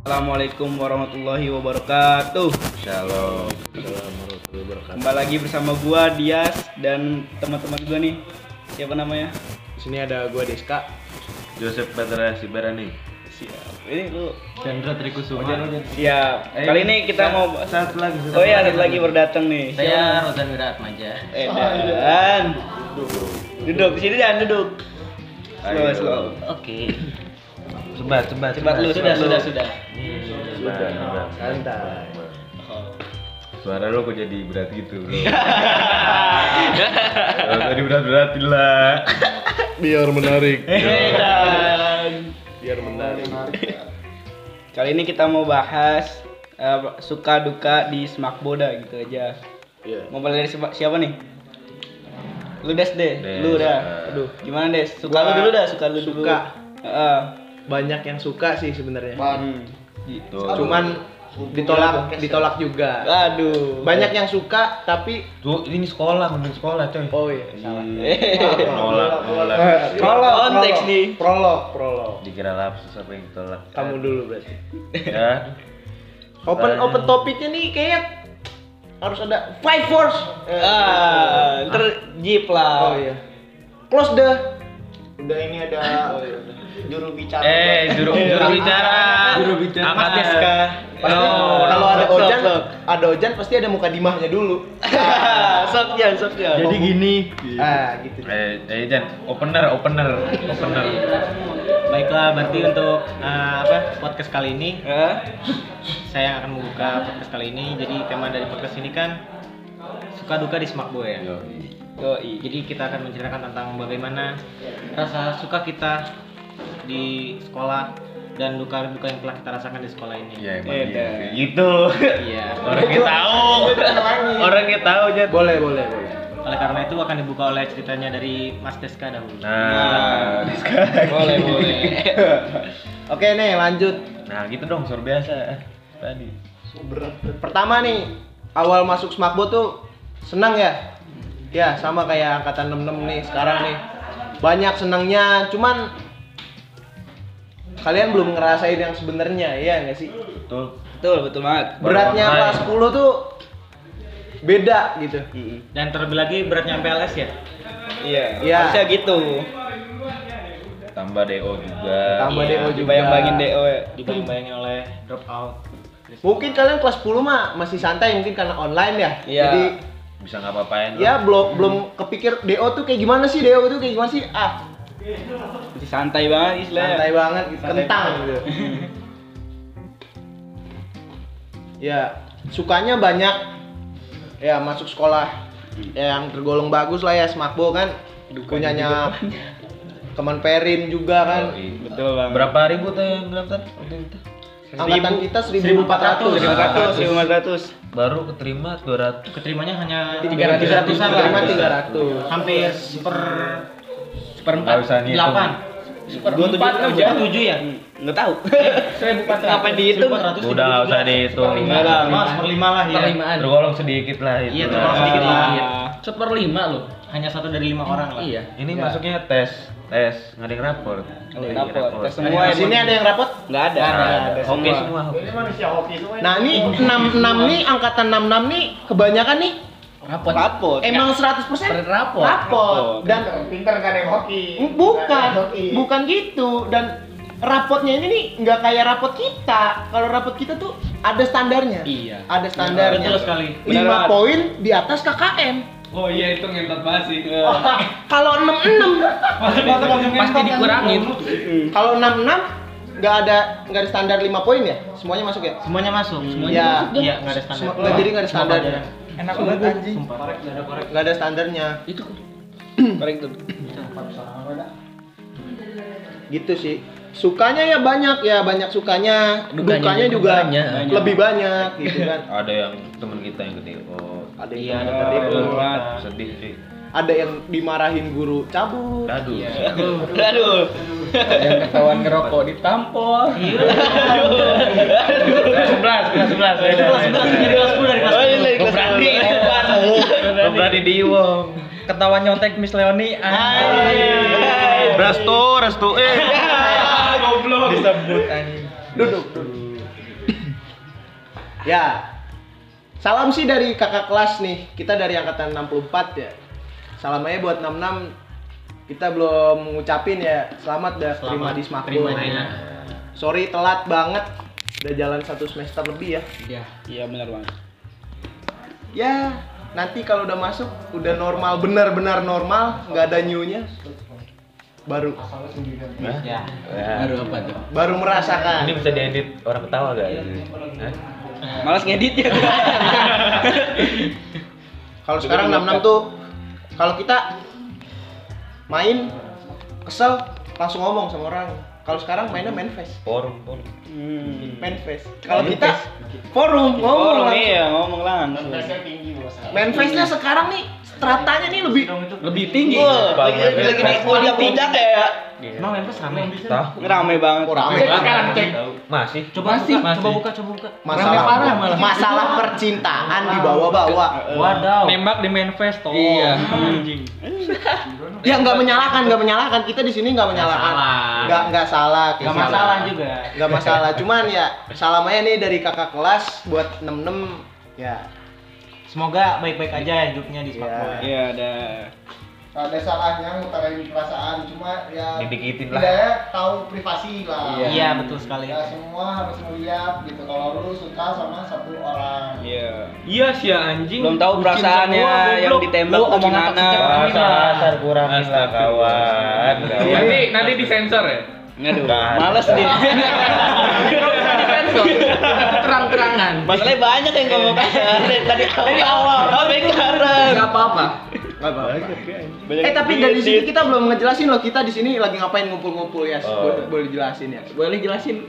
Assalamualaikum warahmatullahi wabarakatuh. Shalom. Shalom warahmatullahi wabarakatuh. Kembali lagi bersama gua Dias dan teman-teman gua nih. Siapa namanya? Di sini ada gua Deska. Joseph Petra Sibarani. Siap. Ini lu Chandra Trikusuma. siap. Kali ini kita mau satu lagi. Oh iya, ada lagi berdatang nih. Saya Rozan Wiratmaja. Eh, dan duduk di sini dan duduk. Slow, Ayo. slow. Oke. Sebat, sebat, Cepat lu, Sudah, cepat lu. sudah, sudah. Sebat, sebat. Santai. Suara lu kok jadi berat gitu, Bro? Kalau tadi Iya. berat-beratin lah. Biar menarik. Eh, dan Biar menarik. kali ini kita mau bahas eh, suka duka di semak boda gitu aja. Iya. Mau mulai dari siapa, siapa nih? Lu Des deh, Des. lu dah. Aduh, gimana Des? Suka lu dulu dah, suka lu dulu. Suka. Heeh. Banyak yang suka sih sebenarnya. Hmm. Di- Tuh. Cuman ditolak, ditolak juga. Aduh. Banyak yang suka tapi tuh ini sekolah, mending sekolah, coy. oh iya salah. Nolak, nolak. Prolog, konteks prolog, nih. Prolog, prolog. Dikira lapsus apa yang ditolak? Kamu dulu berarti. Ya. Open Eh. open topiknya nih kayaknya harus ada five force. Eh, Ah, ntar jeep lah. Oh iya. Close the Oh, iya. Udah ini ada juru bicara. Eh, juru juru bicara. Iya. Juru bicara. Angkat ya. Des Deska. kah? Pasti Oh, kalau ada sok, ojan, sok. ada ojan pasti ada muka dimahnya dulu. Sofian, Sofian. Jadi gini. ah, gitu. Eh, eh, Jan, opener, opener, opener. Baiklah, berarti untuk eh, apa podcast kali ini Hah? saya yang akan membuka podcast kali ini. Jadi tema dari podcast ini kan suka duka di Smakbo ya. Yoi. gitu. Jadi kita akan menceritakan tentang bagaimana rasa suka kita di sekolah dan duka-duka yang telah kita rasakan di sekolah ini. Iya, emang Eh, gitu. dah. gitu. Iya. Orangnya tahu. Orangnya tahu, Jan. Boleh, boleh, boleh. Oleh karena itu akan dibuka oleh ceritanya dari Mas Deska dahulu. Nah, Boleh, boleh. Oke nih, lanjut. nah gitu dong, sur biasa tadi. Pertama nih, awal masuk Smakbo tuh senang ya? Ya, sama kayak angkatan 66 nih sekarang nih. Banyak senangnya, cuman kalian belum ngerasain yang sebenarnya, iya nggak sih? Betul. Betul, betul banget. Beratnya Baru kelas 10 tuh beda gitu. Mm-mm. Dan terlebih lagi beratnya PLS ya. Iya, Iya. harusnya gitu. Tambah DO juga. Tambah Iya, DO juga. Dibayang-bayangin DO ya. Dibayang-bayangin oleh drop out. Mungkin kalian kelas 10 mah masih santai mungkin karena online ya. Iya. Jadi Bisa ngapa-ngapain. Iya, ya belum belum kepikir DO tuh kayak gimana sih DO tuh kayak gimana sih? Ah, Masih santai banget istilahnya. santai banget gitu, Santai kentang gitu. ya, sukanya banyak. Ya, masuk sekolah yang tergolong bagus lah ya Smakbo kan. Punyanya Kemenperin juga kan. Betul banget. Berapa ribu tuh yang daftar? waktu itu? Angkatan kita 1400. 1400, 1500. Baru keterima 200. Keterimanya hanya 300 300-an lah. terima 300. Hampir per Nggak usah seperempat, ngitung. delapan. Seperempat kan aja. tujuh ya? Enggak tahu. Seribu empat ratus. Apa dihitung? Seribu empat ratus Udah nggak usah dihitung. lima lah. Mas, per lima lah ya. Tergolong sedikit lah itu. Iya, lah. tergolong sedikit lah. Seperlima loh. Hanya satu dari lima orang lah. Iya. Ini masuknya tes, tes, nggak ada yang rapor. Nggak ada yang rapor. Tes Nggak semua Di sini ada yang rapot? Enggak ada. ada. Nah, Oke semua. semua. Ini manusia hoki semua. Nah ini 66 nih, angkatan 66 nih kebanyakan nih Rapot. Rapot. emang 100% Per rapot. rapot dan pinter kan yang hoki. bukan Nggak ada yang hoki. bukan gitu dan rapotnya ini nih nggak kayak rapot kita kalau rapot kita tuh ada standarnya Iya. ada standarnya Betul sekali. Benar banget. 5 poin di atas KKM Oh iya itu ngentot banget sih. Oh, kalau 66 Pasti dikurangin. kalau 66 nggak ada nggak ada standar 5 poin ya semuanya masuk ya Semuanya masuk, semuanya Iya. masuk. Iya, nggak ada standar. Semua- nggak, jadi nggak ada Semua standarnya. pelajaran. Enak banget anjing. Sumpah. Nggak ada korek. nggak ada standarnya Itu Korek tuh. gitu sih sukanya ya banyak ya banyak sukanya Dukanya dukanya juga juga banyak. lebih banyak gitu kan Ada yang teman kita yang gede. Oh, ada Iya, yang ada Korek korek. tuh. sedih sih. ada yang dimarahin guru cabut Aduh. Aduh. yang ketahuan ngerokok ditampol. Sebelas, sebelas, sebelas. Kelas sebelas, jadi kelas sepuluh dari kelas Oh, sepuluh. ini kelas berani. empat. Belum berani diiwong. Ketahuan nyontek Miss Leoni. ah. Hai. Restu, restu. Eh. Ah, Goblok. Disebut anjing. duduk Ya. Salam sih dari kakak kelas nih. Kita dari angkatan 64 ya. Salam aja buat 66. Kita belum ngucapin ya. Selamat dah terima Selamat di Smakbo. terimanya. Sorry telat banget. Udah jalan satu semester lebih ya. Iya. Iya benar banget. Ya, nanti kalau udah masuk udah normal benar-benar normal, nggak ada new-nya. Baru Ya. Nah, Baru apa tuh? Iya. baru ini merasakan. bisa diedit orang ketawa gak? Iya, gitu. Hah? Malas ngedit ya. gua. Kalau sekarang 66 tuh kalau kita main kesel langsung ngomong sama orang. Kalau sekarang mainnya main face. Forum, forum. Hmm. Main face. Kalau kita forum ngomong Ngomong langsung. iya, ngomong langsung. Tesnya tinggi bos. Main face-nya sekarang nih stratanya nih lebih Lebih tinggi. Iya, Wah, Bang, lagi main lagi di face. puncak puncak ya. Emang Lempes rame? Tahu? Rame banget. Oh, rame. Cek sekarang cek. Masih. Coba Masih, buka, coba masih. buka, coba buka. masalah Rame parah malah. masalah percintaan dibawa-bawa. Wadaw. Nembak di manifest tolong. Iya. Anjing. Ya nggak menyalahkan, nggak menyalahkan. Kita di sini nggak menyalahkan. salah. Nggak nggak salah. Gak masalah juga. Nggak masalah. Cuman ya salam aja nih dari kakak kelas buat 66 ya. Semoga baik-baik aja hidupnya di Smartboy. Iya, ada. Ada salahnya ngutarain perasaan, cuma ya Didikitin lah. tidak tahu privasi lah. Iya, betul sekali. Ya semua harus melihat gitu kalau lu suka sama satu orang. Iya. Iya sih ya, anjing. Belum tahu Bikin perasaannya semua, yang goblok. ditembak Lu tuh omongan gimana. toksik yang aneh lah. Dasar kurangin lah kawan. Iya. Nanti nanti disensor ya. Aduh, Nggak ada. males nih. Sensor. Terang-terangan. Masalahnya banyak yang ngomong kasar dari tadi dari awal. Oh, baik Karen. Gak apa-apa. Eh tapi dari sini kita belum ngejelasin loh kita di sini lagi ngapain ngumpul-ngumpul ya. Oh. Boleh, boleh jelasin ya. Boleh jelasin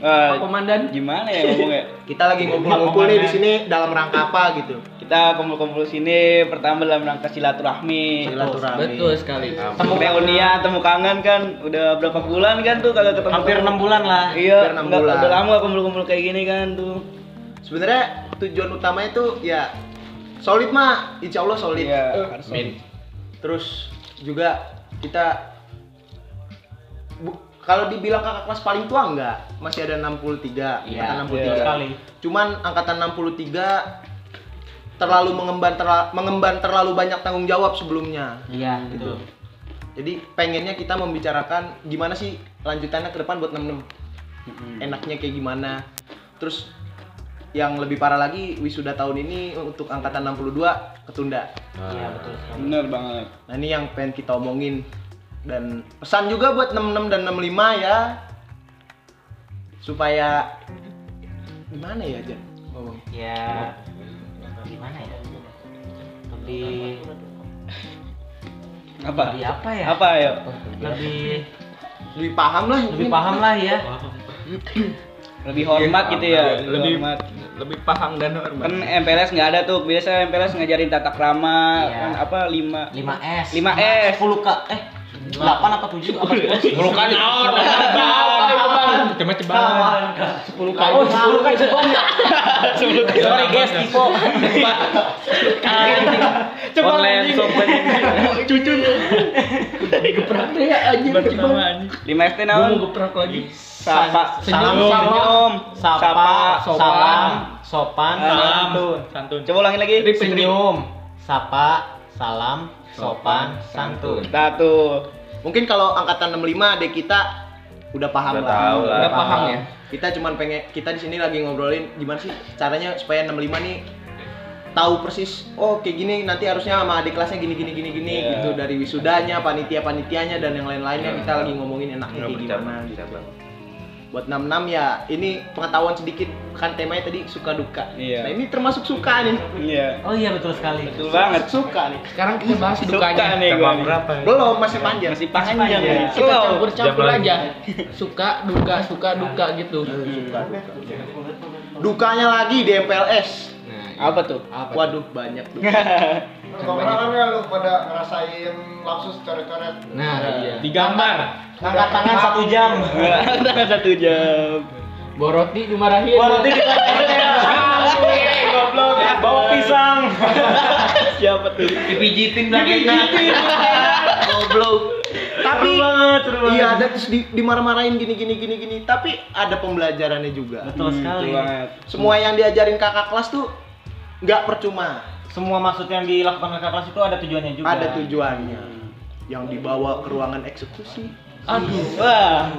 Eh, Pak Komandan? gimana ya ngomongnya? Kita lagi ngumpul-ngumpul nih di sini dalam rangka apa gitu. Kita kumpul-kumpul sini pertama dalam rangka silaturahmi. Silaturahmi. Betul sekali. Temu reunian, temu kangen kan udah berapa bulan kan tuh kagak ketemu. Hampir 6 bulan lah. Iya, Hampir enam nggak- bulan. udah lama nggak kumpul-kumpul kayak gini kan tuh. Sebenarnya tujuan utamanya tuh ya solid mah, insya Allah solid. Iya, Eh, harus Terus juga kita bu- kalau dibilang kakak kelas paling tua enggak, masih ada 63, Iya, angkatan betul 63. sekali. Cuman angkatan 63 terlalu mengemban terla- mengemban terlalu banyak tanggung jawab sebelumnya. Iya, betul. Jadi pengennya kita membicarakan gimana sih lanjutannya ke depan buat 66. Enaknya kayak gimana. Terus yang lebih parah lagi wisuda tahun ini untuk angkatan 62 ketunda. Iya, betul sekali. bener banget. Nah ini yang pengen kita omongin dan pesan juga buat 66 dan 65 ya supaya gimana ya Jan ngomong Ya gimana ya? Lebih Apa? lebih apa ya? Apa ya? Lebih lebih paham lah lebih paham lah ya. Lebih hormat gitu ya. Iya, Lebih- hormat. Lebih paham dan hormat. Kan MPLS nggak ada tuh. Biasanya MPLS ngajarin tata krama, Iya. kan apa lima 5S. 5S. 10K eh 8 apa 7 apa 10? Pelukan naon? Cuma Nah, ceban. 10K. Oh, 10K coba ya. Sorry guys, typo. Online sobat lima ST Gua naon? mau geprak lagi. Sapa, Senyum, salam, senyum, Sapa, sopan, salam, sopan, salam. santun. Santun. Coba ulangin lagi. Senyum, sapa, salam, sopan, santun. Nah tuh, mungkin kalau angkatan 65 deh kita udah paham Udah lah tahu lah. Udah paham ya? kita cuman pengen kita di sini lagi ngobrolin gimana sih caranya supaya 65 nih tahu persis oh kayak gini nanti harusnya sama adik kelasnya gini gini gini gini Iya. gitu dari wisudanya panitia panitianya dan yang lain-lainnya kita lagi ngomongin Iya, enaknya kayak gimana gitu. buat 66 ya ini pengetahuan sedikit kan temanya tadi suka duka Iya. nah ini termasuk suka nih iya Oh iya betul sekali. betul banget. suka nih Sekarang kita bahas Suka dukanya. nih Tema gua nih. berapa? belum masih panjang Masih panjang Masih nih. panjang. Kita Slow. campur-campur Jam lagi. aja. Suka duka suka duka gitu. dukanya lagi di MPLS Nah, Apa tuh? waduh banyak duka Kau pernah kan lu pada ngerasain lapsus coret-coret? Nah, iya. Digambar. Angkat tangan satu jam. Tangan satu jam. Iya. Boroti dimarahin. Goblok. Bawa pisang. Iya. Siapa tuh? Dipijitin belakangnya. goblok tapi banget, seru banget. iya ada terus di- dimarah-marahin gini gini gini gini tapi ada pembelajarannya juga Betul sekali. Hmm, banget. semua yang diajarin kakak kelas tuh nggak percuma Semua maksud yang dilakukan kakak kelas itu ada tujuannya juga. ada tujuannya yang dibawa ke ruangan eksekusi Aduh. Wah.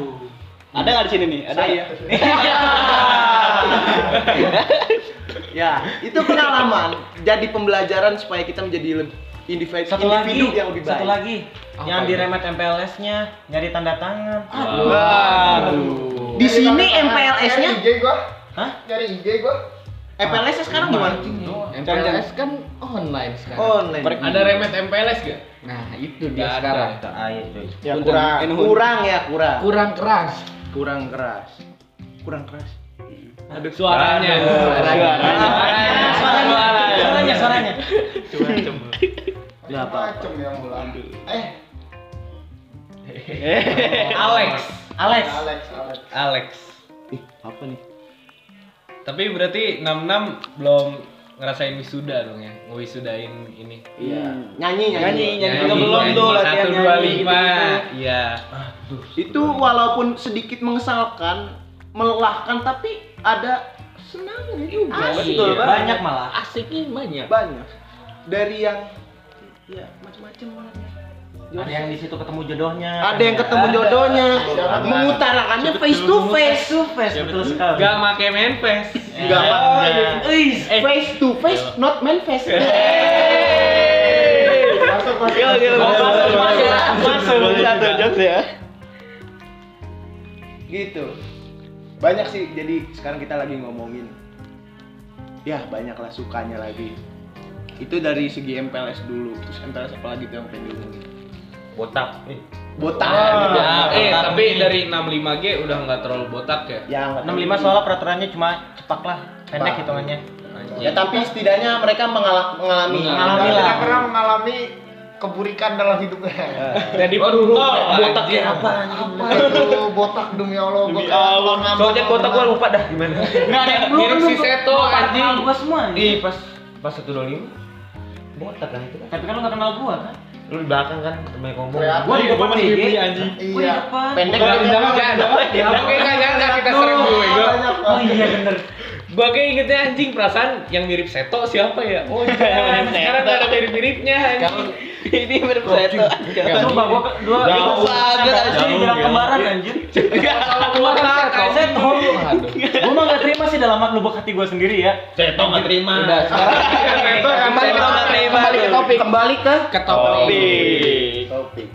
Ada nggak di sini nih? Ada ya. ya itu pengalaman jadi pembelajaran supaya kita menjadi leb- individu Satu lagi, individu yang lebih baik satu lagi. Apa yang ini? di remet MPLS-nya nyari tanda tangan. Waduh. di sini MPLS-nya Nyari IG gua. Hah? Nyari IG gua. MPLS -nya sekarang gimana MPLS kan online Oh, sekarang. online Ada remet MPLS gak? Nah, itu Nggak dia ada. sekarang. Ayo, coy. ya Untung. kurang kurang ya kurang Kurang keras. kurang keras kurang keras Suaranya. Suaranya. Suaranya, suaranya, suaranya, suaranya. nggak apa Macem yang bulan. Eh, Alex. Alex. Alex, Alex. Alex. apa nih Tapi berarti 66 belum ngerasain wisuda dong ya? Ngewisudain ini. iya nyanyi nyanyi, Nyanyi, nyanyi juga belum tuh latihan nyanyi. gitu kan. 125. Iya. itu walaupun sedikit mengesalkan melelahkan tapi ada senangnya juga Asik. betul banget. Banyak malah. Asiknya iya. banyak. banyak dari yang ya macam-macam orangnya. Ada yang di situ ketemu jodohnya. ada yang ketemu jodohnya mengutarakannya face to face to face betul sekali. Gak make menfes. enggak apa face to face not man face Masuk, masuk. Masuk, masuk, Masuk. Satu jokes ya. gitu banyak sih jadi sekarang kita lagi ngomongin ya banyaklah sukanya lagi itu dari segi MPLS dulu terus MPLS apalagi tuh yang pengen diomongin Botak. Eh, botak Nah, eh, tapi dari 65G udah nggak terlalu botak ya? ya nggak tahu. 65 soalnya peraturannya cuma cepak lah, pendek Cepak. hitungannya. Iya. ya tapi setidaknya mereka mengala- mengalami Iya. Mengalami lah. Tidak pernah mengalami keburikan dalam hidupnya. Jadi waduh, botak ya apa? Apa itu botak demi Allah? Demi Allah. Soalnya kota gua lupa dah gimana. Enggak ada yang Mirip si Seto anjing. Gua semua. Ih, pas pas 125 botak kan itu kan. Tapi kan lu gak kenal gua kan? Lu di belakang kan main ngomong. Kreatif. Gua di depan nih, Gi. anjing. Gua di Iya. depan. pendek Jangan, jangan, jangan, jangan, jangan, jangan, kita serem gue. Gua- Oh iya bener. Gua kayak ingetnya anjing perasaan yang mirip Seto siapa ya? Oh iya, sekarang gak ada mirip-miripnya anjing. Ini mirip saya tuh. Sumpah gua dua Jauh banget, anjing. jauh, Bilang jauh. kembaran anjir. Kalau keluar Botak, Seto. Seto. Aduh. Gua mah gak terima sih dalam lubuk hati gua sendiri ya. Cetok enggak terima. Udah, sekarang Kembali ke topik. kembali ke topik kembali ke ke Oh, iya. topik. topik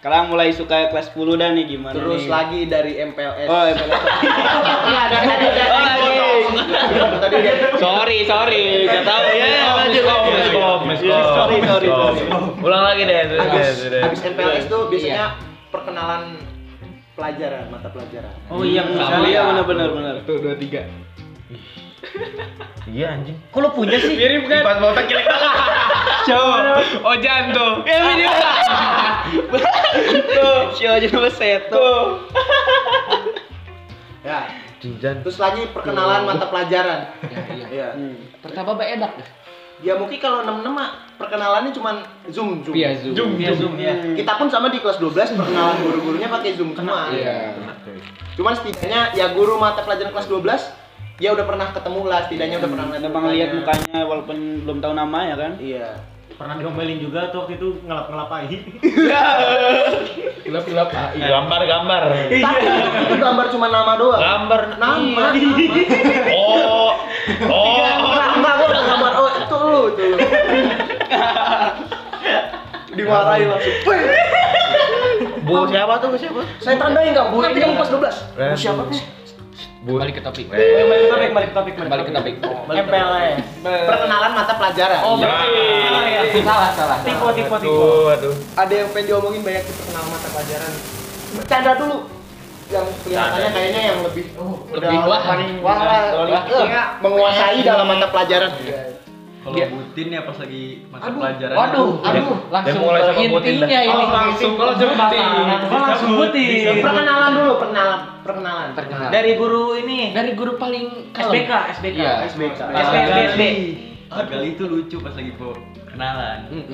Sekarang mulai suka kelas 10 dah nih gimana terus nih? lagi dari MPLS Oh, MPLS. Iya, Oh, lagi. tadi dia Iya, Sorry, sorry. Gak tahu ya. lanjut, lanjut. Miskom, miskom, Sorry, sorry, miskom. sorry. Ulang lagi deh, terus deh, habis, terus deh. habis MPLS tuh biasanya perkenalan pelajaran mata pelajaran Oh iya bener. Sama sekali. ya, benar benar benar. Satu, dua, tiga. Iya anjing. Kok lu punya sih? Mirip kan? Pas botak jelek. Coba. Ojan tuh. Ya video. Tuh, si aja sama Seto. ya Jinjan. terus lagi perkenalan mata pelajaran Ya, iya. ya Hmm. Pertama Mbak Edak. ya mungkin kalau 66 mah perkenalannya cuman zoom zoom Via Zoom. Jum, Iya zoom ya. Hmm. kita pun sama di kelas 12 perkenalan guru-gurunya pakai zoom semua Iya. cuman setidaknya ya guru mata pelajaran kelas 12 ya udah pernah ketemu lah setidaknya udah pernah Ada bang lihat mukanya walaupun belum tahu namanya kan. iya Pernah diomelin juga tuh waktu itu ngelap-ngelap air. Gelap-gelap AI. Gambar, gambar. tapi itu, itu gambar cuma nama doang Gambar. nama nama. Oh. Oh. Enggak, enggak, gua udah gambar. Oh, itu lu, itu lu. Dimarahin langsung. Weh, Bu siapa tuh? Bu siapa? Eh, saya tandain enggak, Bu. Nanti kamu pas 12. Bu siapa tuh? Bu. Balik ke topik. Eh. Balik ke topik, balik ke topik, Balik ke topik. ya. MPLS. Perkenalan mata pelajaran. Iya. Oh, salah ya. Oh, Salah, salah. Tipe, tipe, tipe. Aduh, aduh. Ada yang pengen diomongin banyak tuh perkenalan mata pelajaran. Bercanda dulu. Yang kelihatannya kayaknya yang Oh, lebih Lebih wah. paling wah lah. Wah. Eh, menguasai dalam mata pelajaran. Kalau butin ya pas lagi masa Aduh. pelajaran. Waduh, aduh, langsung mulai ke sama Putin intinya dah. ini. Oh, langsung kalau sebutin. Gua langsung putih. Perkenalan dulu, perkenalan, perkenalan. Terkenal. Dari, Dari guru ini. dari guru paling kalem. SBK, SBK. Iya. SBK. SBK. Agal itu lucu pas lagi po kenalan Hmm.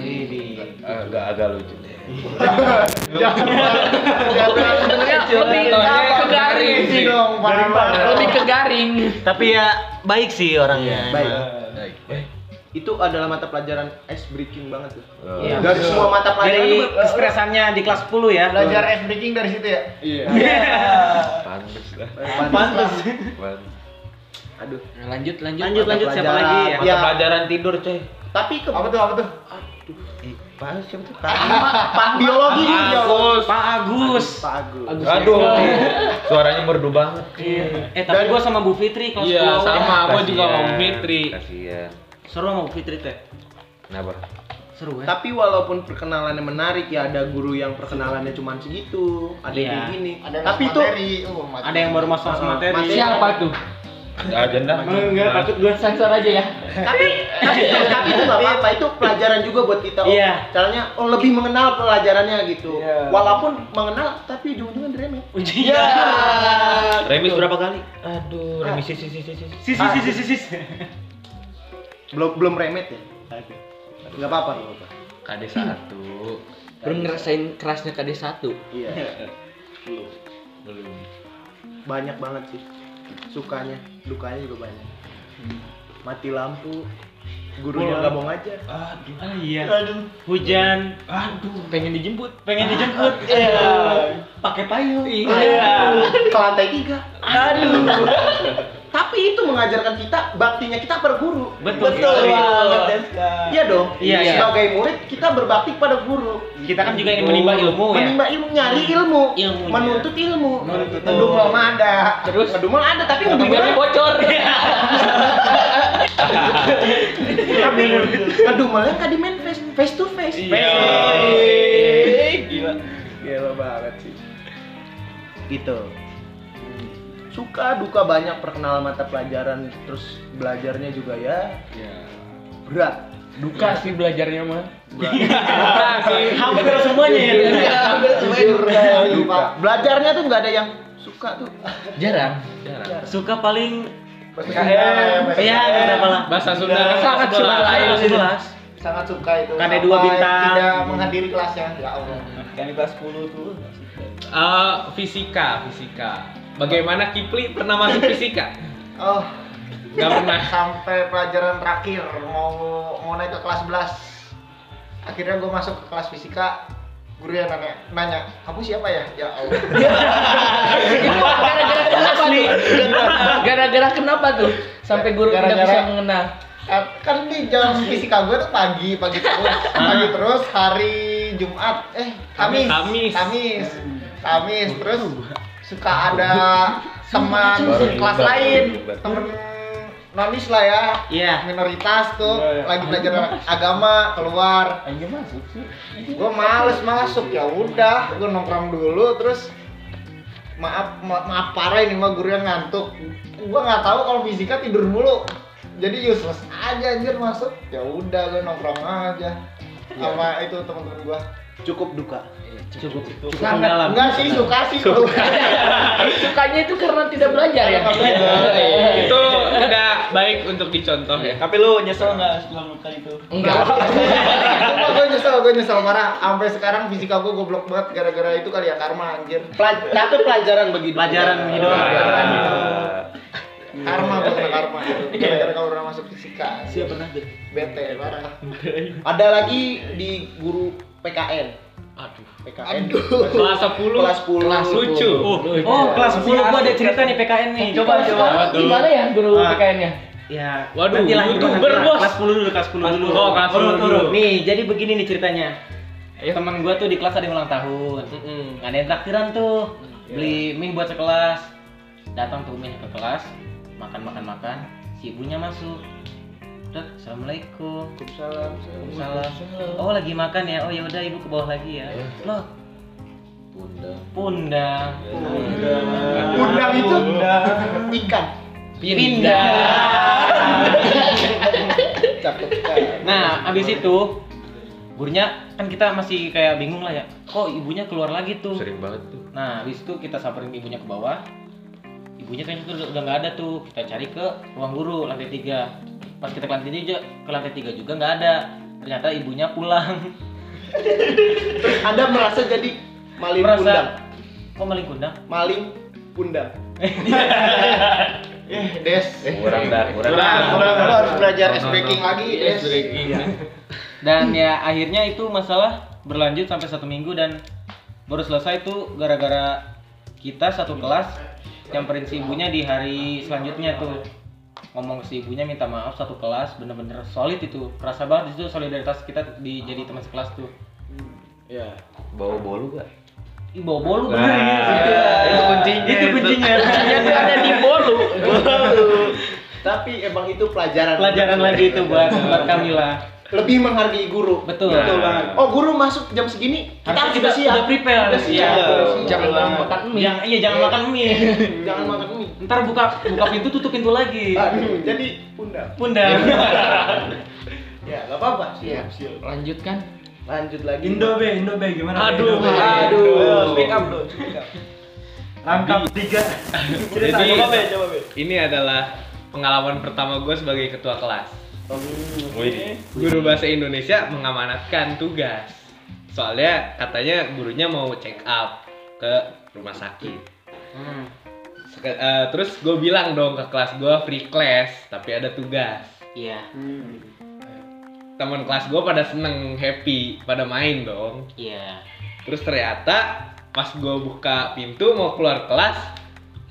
agak agak lucu deh Sebenarnya lebih Contohnya ke garing Ini dong, parah Iya, banget. Lebih ke garing. tapi ya baik sih orangnya Baik. emang. baik eh Iya, Itu adalah mata pelajaran ice breaking banget tuh. eh, Dari semua mata pelajaran eh, dari tuh- ekspresannya di kelas 10 ya Belajar ice breaking dari situ ya? pantes lah pantas pantes Aduh. Lanjut, lanjut. Lanjut, Mata lanjut, siapa pelajaran. lagi? Iya. Ya, pelajaran tidur coy tapi ke Apa tuh, apa tuh? Pak siapa tuh? Pak Pak biologi nih, Ya, biologi. Pak Agus Pak Agus. aduh suaranya merdu banget eh tapi gua sama Bu Fitri kelas iya 10 sama gua juga Kasihan, mau Fitri kasihan Eh, seru sama Bu Fitri teh kenapa seru ya Tapi walaupun perkenalannya menarik ya ada guru yang perkenalannya cuma segitu, ada Iya. yang kayak gini. Ada yang Tapi itu masuk Oh, materi. Uh, materi. ada yang baru masuk masuk materi Iya. Siapa tuh? agenda Enggak, takut gua. Sensor aja ya. tapi tapi, tapi itu nggak apa-apa itu pelajaran juga buat kita oh, Iya. caranya oh lebih mengenal pelajarannya gitu Iya. walaupun mengenal tapi ujung-ujungnya diremeh Iya. remis berapa kali Ah. Aduh, remis sis sis sis sis. Sis sis sis sis. belum belum remet ya nggak apa-apa nggak apa-apa KD satu Belum ngerasain kerasnya KD1. iya belum banyak banget sih sukanya dukanya juga banyak mati lampu gurunya nggak mau ngajar Ah ya. iya. Aduh. Hujan, Pengen dijemput. pengen dijemput. Ah. Iya. Pakai payung. Iya. Iya. ke lantai tiga aduh tapi itu mengajarkan kita baktinya kita per guru Betul. Betul. iya dong Iya, iya. sebagai murid kita berbakti pada guru Kita kan juga ingin menimba ilmu ya. menimba ilmu nyari ilmu, Ilmu, iya. menuntut ilmu Menuntut mendumel ilmu. mah ada terus mendumel ada tapi Iya. ngedumel bocor. tapi ngedumelnya kan di main face face to face Iya. Iya. gila gila banget sih gitu suka duka banyak perkenalan mata pelajaran terus belajarnya juga ya Iya. berat Duka Iya. sih belajarnya mah. Iya Hampir semuanya ya. Iya. Jujur, saya duka. belajarnya tuh nggak ada yang suka tuh Jarang. Suka paling Bahasa Sunda lah ya, bahasa ya Sunda. kenapa lah. bahasa Sunda Iya. Sangat suka Kelas lain. 11. Sangat suka itu. Kan ada Sampai dua bintang. Tidak menghadiri kelasnya. Ya Allah. Kami kelas 10 tuh. Eh, fisika fisika bagaimana Kipli pernah masuk fisika Oh, nggak pernah Iya. sampai pelajaran terakhir mau mau naik ke kelas 11 akhirnya gue masuk ke kelas fisika guru yang nanya nanya kamu siapa ya ya Allah Gara-gara kenapa tuh? Gara-gara kenapa tuh? Sampai guru tidak bisa Gara-gara- mengenal. kan, kan di jam fisika gue tuh pagi pagi terus pagi terus hari Jumat eh Kamis Kamis. Kamis Kamis terus suka ada teman Baru kelas diubah, lain baru diubah. temen nonis lah ya Iya. minoritas tuh Iya, iya. lagi belajar agama keluar Anjir masuk sih. gue males masuk ya udah gue nongkrong dulu terus maaf ma- maaf parah ini mah gurunya ngantuk gue nggak tahu kalau fisika tidur mulu jadi useless aja anjir masuk ya udah gue nongkrong aja Iya. sama itu teman-teman gue cukup duka Cukup. Cukup Sangat. dalam. enggak sih suka sih gitu. suka Sukanya itu karena tidak belajar ya. Iya, itu udah baik untuk dicontoh ya Tapi lu nyesel enggak setelah melakukan itu? Enggak. gue nyesel gue nyesel marah sampai sekarang fisika gue goblok banget gara-gara itu kali ya karma anjir Pelaj- tapi pelajaran bagi duka. Pelajaran bagi duka. karma gue kena karma gara-gara kau pernah masuk fisika Siapa pernah tuh? bete marah ada lagi di guru PKN aduh PKN aduh kelas kelas 10 10 Kelas lucu Oh, Oh, kelas 10 gua ada cerita nih PKN nih. Coba coba. Gimana ya guru PKN-nya? Ya, Waduh, nantilah, youtuber, nantilah. bos. Kelas 10 dulu, kelas 10 Kelas dulu. 10, kelas 10 Urut, dulu. urut. Nih, jadi begini nih ceritanya. Temen gua tuh di kelas ada yang ulang tahun. Nggak ada yang traktiran tuh. Beli mie buat sekelas. Datang tuh mie ke kelas, makan makan makan. Si ibunya masuk. Udah, assalamualaikum. Waalaikumsalam. Oh lagi makan ya? Oh ya udah ibu ke bawah lagi ya. Loh, bunda pundang. Undang itu ikan. cakep Nah, abis itu gurunya kan kita masih kayak bingung lah ya. Kok ibunya keluar lagi tuh? sering banget tuh Nah, abis itu kita samperin ibunya ke bawah. Ibunya kayaknya tuh udah nggak ada tuh. Kita cari ke ruang guru lantai tiga. Pas kita ke lantai tiga, ke lantai tiga juga nggak ada. ternyata ibunya pulang Anda merasa jadi maling kundang. merasa kok maling kundang Maling kundang. Eh, Des. Kurang dah, kurang dah. Kurang, kurang, lu harus belajar ice breaking lagi, Des. Yes, breaking. Iya. dan ya akhirnya itu masalah berlanjut sampai satu minggu dan baru selesai itu gara-gara kita satu kelas nyamperin si ibunya di hari selanjutnya tuh ngomong ke si ibunya minta maaf satu kelas bener-bener solid itu kerasa banget disitu solidaritas kita di jadi teman sekelas tuh Iya. Bawa bolu gak? Ih, bawa Nah, bolu bener ya. itu kuncinya. itu kuncinya kuncinya tuh ada di bolu Tapi emang itu pelajaran. pelajaran lagi itu buat buat kami lah Lebih menghargai guru. betul Nah. Betul banget. Oh, guru masuk jam segini, kita harus sudah siap. udah prepare Udah siap. Jangan makan mie. Jangan- iya jangan makan mie Jangan makan mie. Ah. ntar buka buka pintu tutup pintu lagi Aduh, jadi kundang. bunda Ya, enggak apa-apa. Siap. Lanjutkan. Lanjut lagi. be, Indo be gimana? Aduh, Be? Aduh. Speak up, bro. rangkap tiga. Cerita Jadi- coba be, coba be. Ini adalah pengalaman pertama gue sebagai ketua kelas. Wih, Guru bahasa Indonesia mengamanatkan tugas. Soalnya katanya gurunya mau check up ke rumah sakit. Hmm. Sek- eh, terus gue bilang dong ke kelas gue free class tapi ada tugas. iya Teman kelas gue pada seneng happy pada main dong. iya Terus ternyata pas gue buka pintu mau keluar kelas,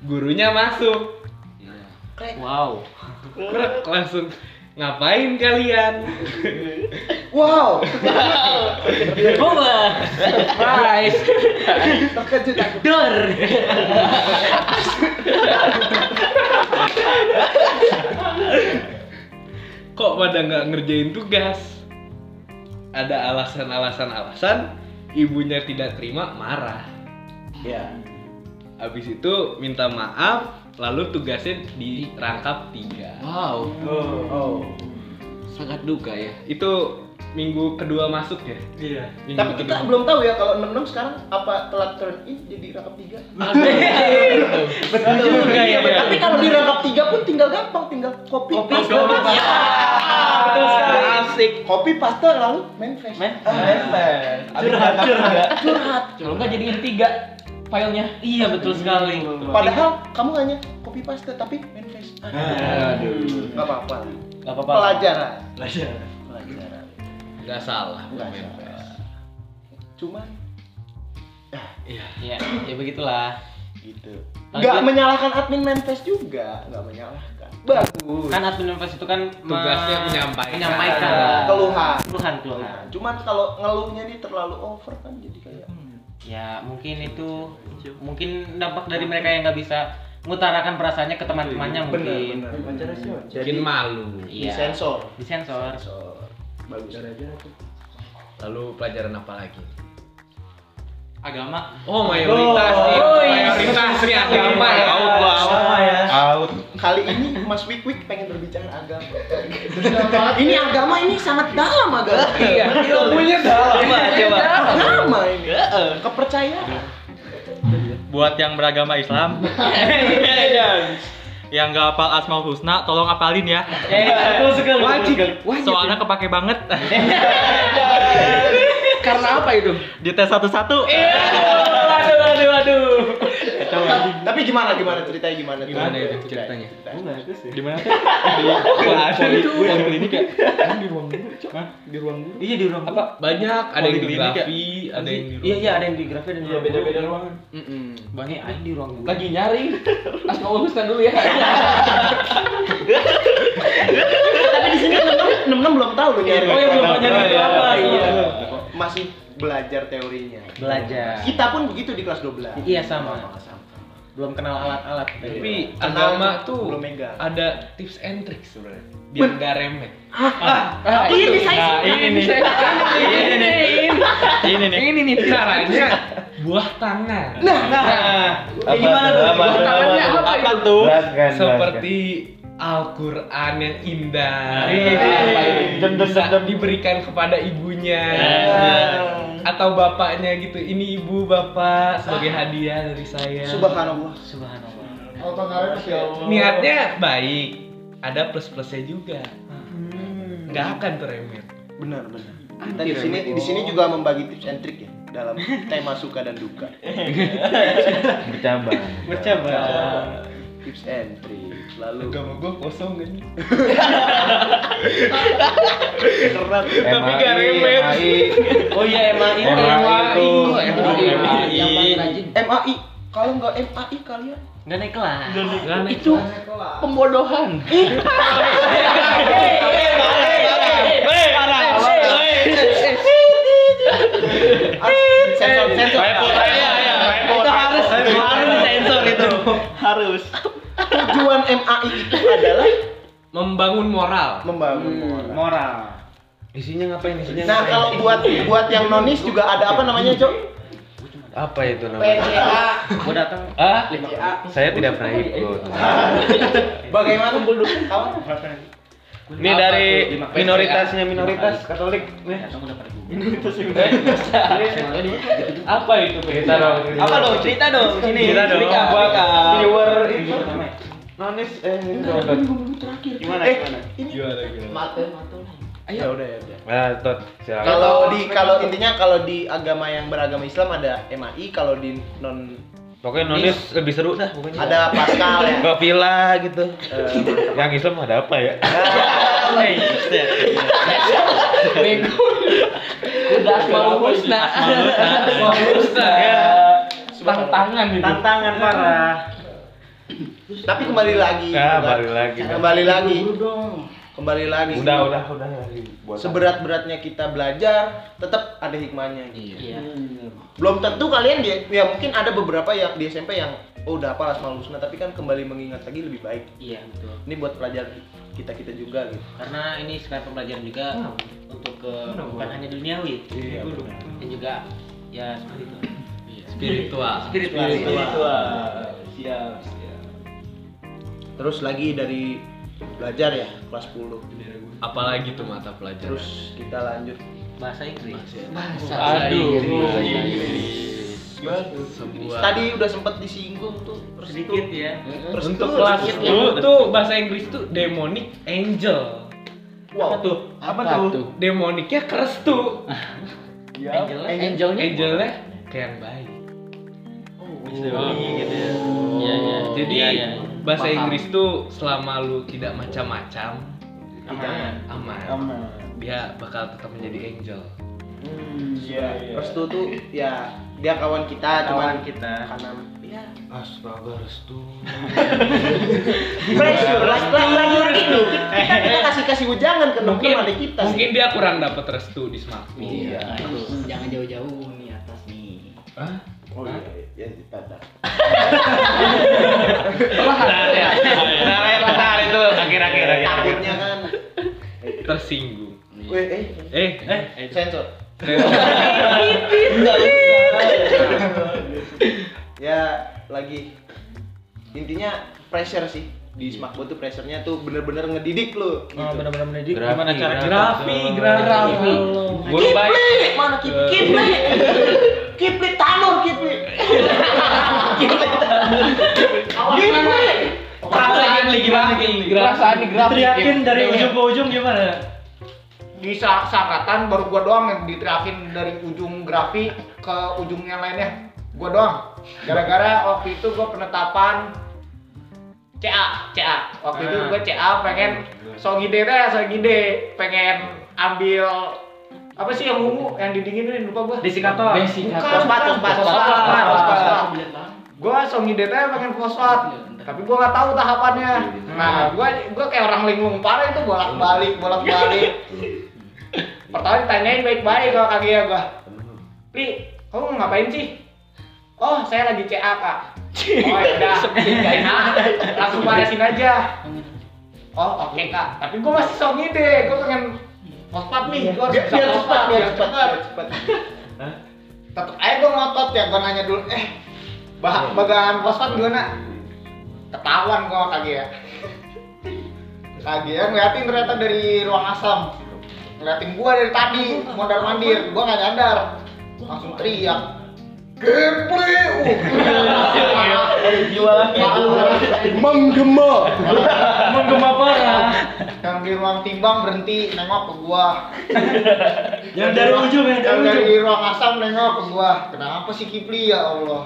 gurunya masuk. wow Krek, Langsung ngapain kalian? Wow, boba guys terkejut aku. dor Kok pada nggak ngerjain tugas? Ada alasan-alasan alasan ibunya tidak terima marah. Ya. Habis itu minta maaf, lalu tugasnya dirangkap tiga. Wow, Oh. sangat duka ya. Itu minggu kedua masuk ya? Iya. Minggu Tapi kita kedua. belum tahu ya kalau 66 sekarang apa telat turn in jadi rangkap 3. betul juga ya Tapi kalau di rangkap 3 pun tinggal gampang, tinggal copy Copy, paste. copy, paste. Ah, betul sekali. Asik. Copy paste lalu main flash. Men- Ah, main flash. Curhat, curhat. Kalau nggak jadiin tiga filenya. iya betul sekali Padahal kamu hanya copy paste tapi main flash. Aduh. Enggak apa-apa. nggak apa-apa Pelajaran. Belajar. Pelajaran. Nggak salah. Nggak main salah. PS. Cuman ya ya begitulah gitu. Lanjut. Enggak menyalahkan admin main flash juga, enggak menyalahkan. Bagus. kan admin universitas itu kan me- Tugasnya menyampaikan. menyampaikan Keluhan. keluhan keluhan Cuman kalau ngeluhnya ini terlalu over kan jadi kayak ya mungkin itu mungkin dampak dari mereka yang nggak bisa mengutarakan perasaannya ke teman-temannya Iya, mungkin jadi Mungkin malu. Iya. disensor. disensor Sensor. Bagus. Lalu pelajaran apa lagi? Agama. Oh mayoritas nih, Oh, iya. mayoritas nih agama ya Sama ya. out. Kali ini Mas Wik Wik pengen berbicara agama. ini agama ini sangat dalam agama. Iya. Ilmunya dalam. coba. Agama ini. Kepercayaan. Buat yang beragama Islam. yang nggak hafal Asmaul Husna, tolong apalin ya. Wajib, wajib. Soalnya kepake banget Karena apa itu? di tes satu-satu. aduh aduh aduh Tapi gimana gimana ceritanya gimana? tuh? Gimana ya? itu ceritanya? Di mana tuh? Di ruang klinik ya? Di ruang guru. Di ruang guru. iya di ruang Apa? Banyak, ada yang di Poligini ya? kayak- grafi, ada yang di iya iya ada yang di grafik dan iya beda-beda ruangan. banyak ada di ruang guru Lagi nyari. Asmaul Husna dulu ya. Tapi di sini 66 belum tahu loh nyari. Oh, iya, belum Agama. nyari apa, iya. Masih belajar teorinya. belajar Kita pun begitu di kelas 12. Iya, sama. Iya. Sama. belum kenal alat-alat Tapi Kenal Iya. agama tuh tuh belum megang. ada tips and trick sebenarnya. Biar nggak remeh. Ah, Ini Nah, saya ini nih. Ini nih. Ini nih. Ini nih. Caranya Nah. buah tangan. Nah, eh, Apa tuh? Apa tuh? Tangannya Apa tuh? apa itu? Jelaskan, jelaskan. Seperti Al-Quran yang Nah, indah. Nah, Iya. Apa itu? Dem, dem, Bisa dem, dem. diberikan kepada ibunya. Iya. Nah. Atau bapaknya gitu. Ini ibu bapak sebagai hadiah dari Ah. Ya. saya. Subhanallah. subhanallah Auto karet ya Allah. Oh. kan. Hmm. niatnya baik ada plus plusnya juga nggak akan tuh remeh Benar, benar. Kita di sini di sini juga membagi tips and trick ya dalam tema suka dan duka. bercabang Bercoba. Tips and trick. Lalu gue kosong kan tapi gak relate. Oh iya emang itu MAI itu iya, Yang paling rajin. MAI kalau nggak MAI kalian nggak naik kelas. Itu pembodohan. Eh, Ah, sensor sensor Itu harus harus sensor itu. harus tujuan MAI itu adalah Membangun moral. membangun moral. moral isinya ngapain Hmm. isinya Nah kalau buat buat yang nonis juga ada apa namanya cok? apa itu namanya Gue datang. ah saya tidak pernah ikut Bagaimana kumpul dulu? ini dari minoritasnya minoritas Katolik nih Apa itu? kita dong apa dong cerita dong sini Cerita dong. cerita buat viewer itu nonis eh download gimana Eh, gimana Ya udah ya udah. ah tot silakan Kalau di kalau intinya kalau di agama yang beragama Islam ada MAI, kalau di non pokoknya nonis lebih seru dah pokoknya Iya. ada Pascal ya. ke villa gitu yang Islam ada apa ya ya. Udah asmaul husna. Tantangan itu. Iya. tantangan parah Tapi kembali lagi. nah Ya, kembali- balik lagi Kembali lagi. Kembali lagi. udah udah udah buat Seberat-beratnya kita belajar, tetap ada hikmahnya. Gitu. Iya. Belum tentu kalian di, ya mungkin ada beberapa yang di SMP yang oh udah apa asmaul husna tapi kan kembali mengingat lagi lebih baik. Iya betul. Ini buat pelajar kita kita juga gitu. Karena ini sekarang pembelajaran juga untuk ke bukan hanya duniawi, dan juga ya seperti itu. Spiritual. Spiritual. siap siap Terus lagi dari belajar ya kelas 10. Apalagi tuh mata pelajaran. Terus kita lanjut Bahasa Inggris. Aduh. sebuah Tadi udah sempet disinggung tuh terus Sedikit tuh- ya. Terus untuk tuh- kelas sedikit ya. dulu tuh bahasa Inggris tuh demonic angel. Wow. Apa tuh? Apa tuh? Demonicnya keras tuh. Angel. Angelnya. Angelnya kayak yang baik. Oh, gitu ya. Iya, iya. Jadi Iya, iya. bahasa Paham. Inggris tuh selama lu tidak macam-macam Aman. aman. aman Dia bakal tetap menjadi angel. hmm iya iya Terus tuh tuh ya dia kawan kita cuman kawan kita karena ya astaga restu pressure lagi lagi lagi lagi tuh kita kita kasih kasih ujangan ke dokter Mungkin adik kita mungkin dia kurang dapat restu di smartphone. Iya. Jangan jauh-jauh nih atas nih. oh iya ya pada Nah, ya. Nah, ya, nah, itu akhir-akhir iya. akhir-akhir. takutnya kan tersinggung. weh eh Eh, eh. sensor ya lagi intinya pressure sih di smakbo tuh pressernya tuh bener-bener ngedidik lu Oh, Ah, gitu. benar-benar mendidik Grafi, gimana cara grafi. Grafi, Grafi. grafi. Guru baik. mana kip Eh, kipli kipli tanur kipli kipli Perasaan lagi lagi. Perasaan nih grafik. teriakin dari Iya. ujung ke ujung gimana di sa- sangkatan baru gua doang yang diterakin dari ujung grafi ke ujung yang lainnya gua doang gara-gara waktu itu gua penetapan CA CA waktu itu gua CA pengen songide teh songide pengen ambil apa sih yang ungu yang didinginin lupa gua desikator Bukan, Fosfat, bukan. fosfat, Fosfat, fosfat, fosfat. Sembilan tahun. Gua songide teh pengen fosfat, tapi gua nggak tahu tahapannya. Nah, gua gua kayak orang linglung parah itu bolak-balik, bolak-balik. Pertama ditanyain baik-baik kalau kaki ya gua. Pri, kamu mau ngapain sih? Oh, saya lagi CA, Kak. Oh, ya udah. Nah, langsung panasin aja. Oh, oke, Kak. Tapi gua masih songide, gua pengen fosfat nih, gua harus Iya. biar biar bisa cepat fosfat, biar biar cepat cepet biar cepat tetep aja gue ngotot ya gue nanya dulu eh bah bagan fosfat gimana ketahuan gue sama KG ya KG ya ngeliatin ternyata dari ruang asam ngeliatin gue dari tadi mondar mandir gue nggak nyadar langsung teriak Geple, uh." jiwa lagi uh, menggema menggema parah yang di ruang timbang berhenti nengok ke gua. Yang dari ujung, yang dari Yang ujung. dari ruang asam nengok ke gua. Kenapa sih Kipli ya Allah?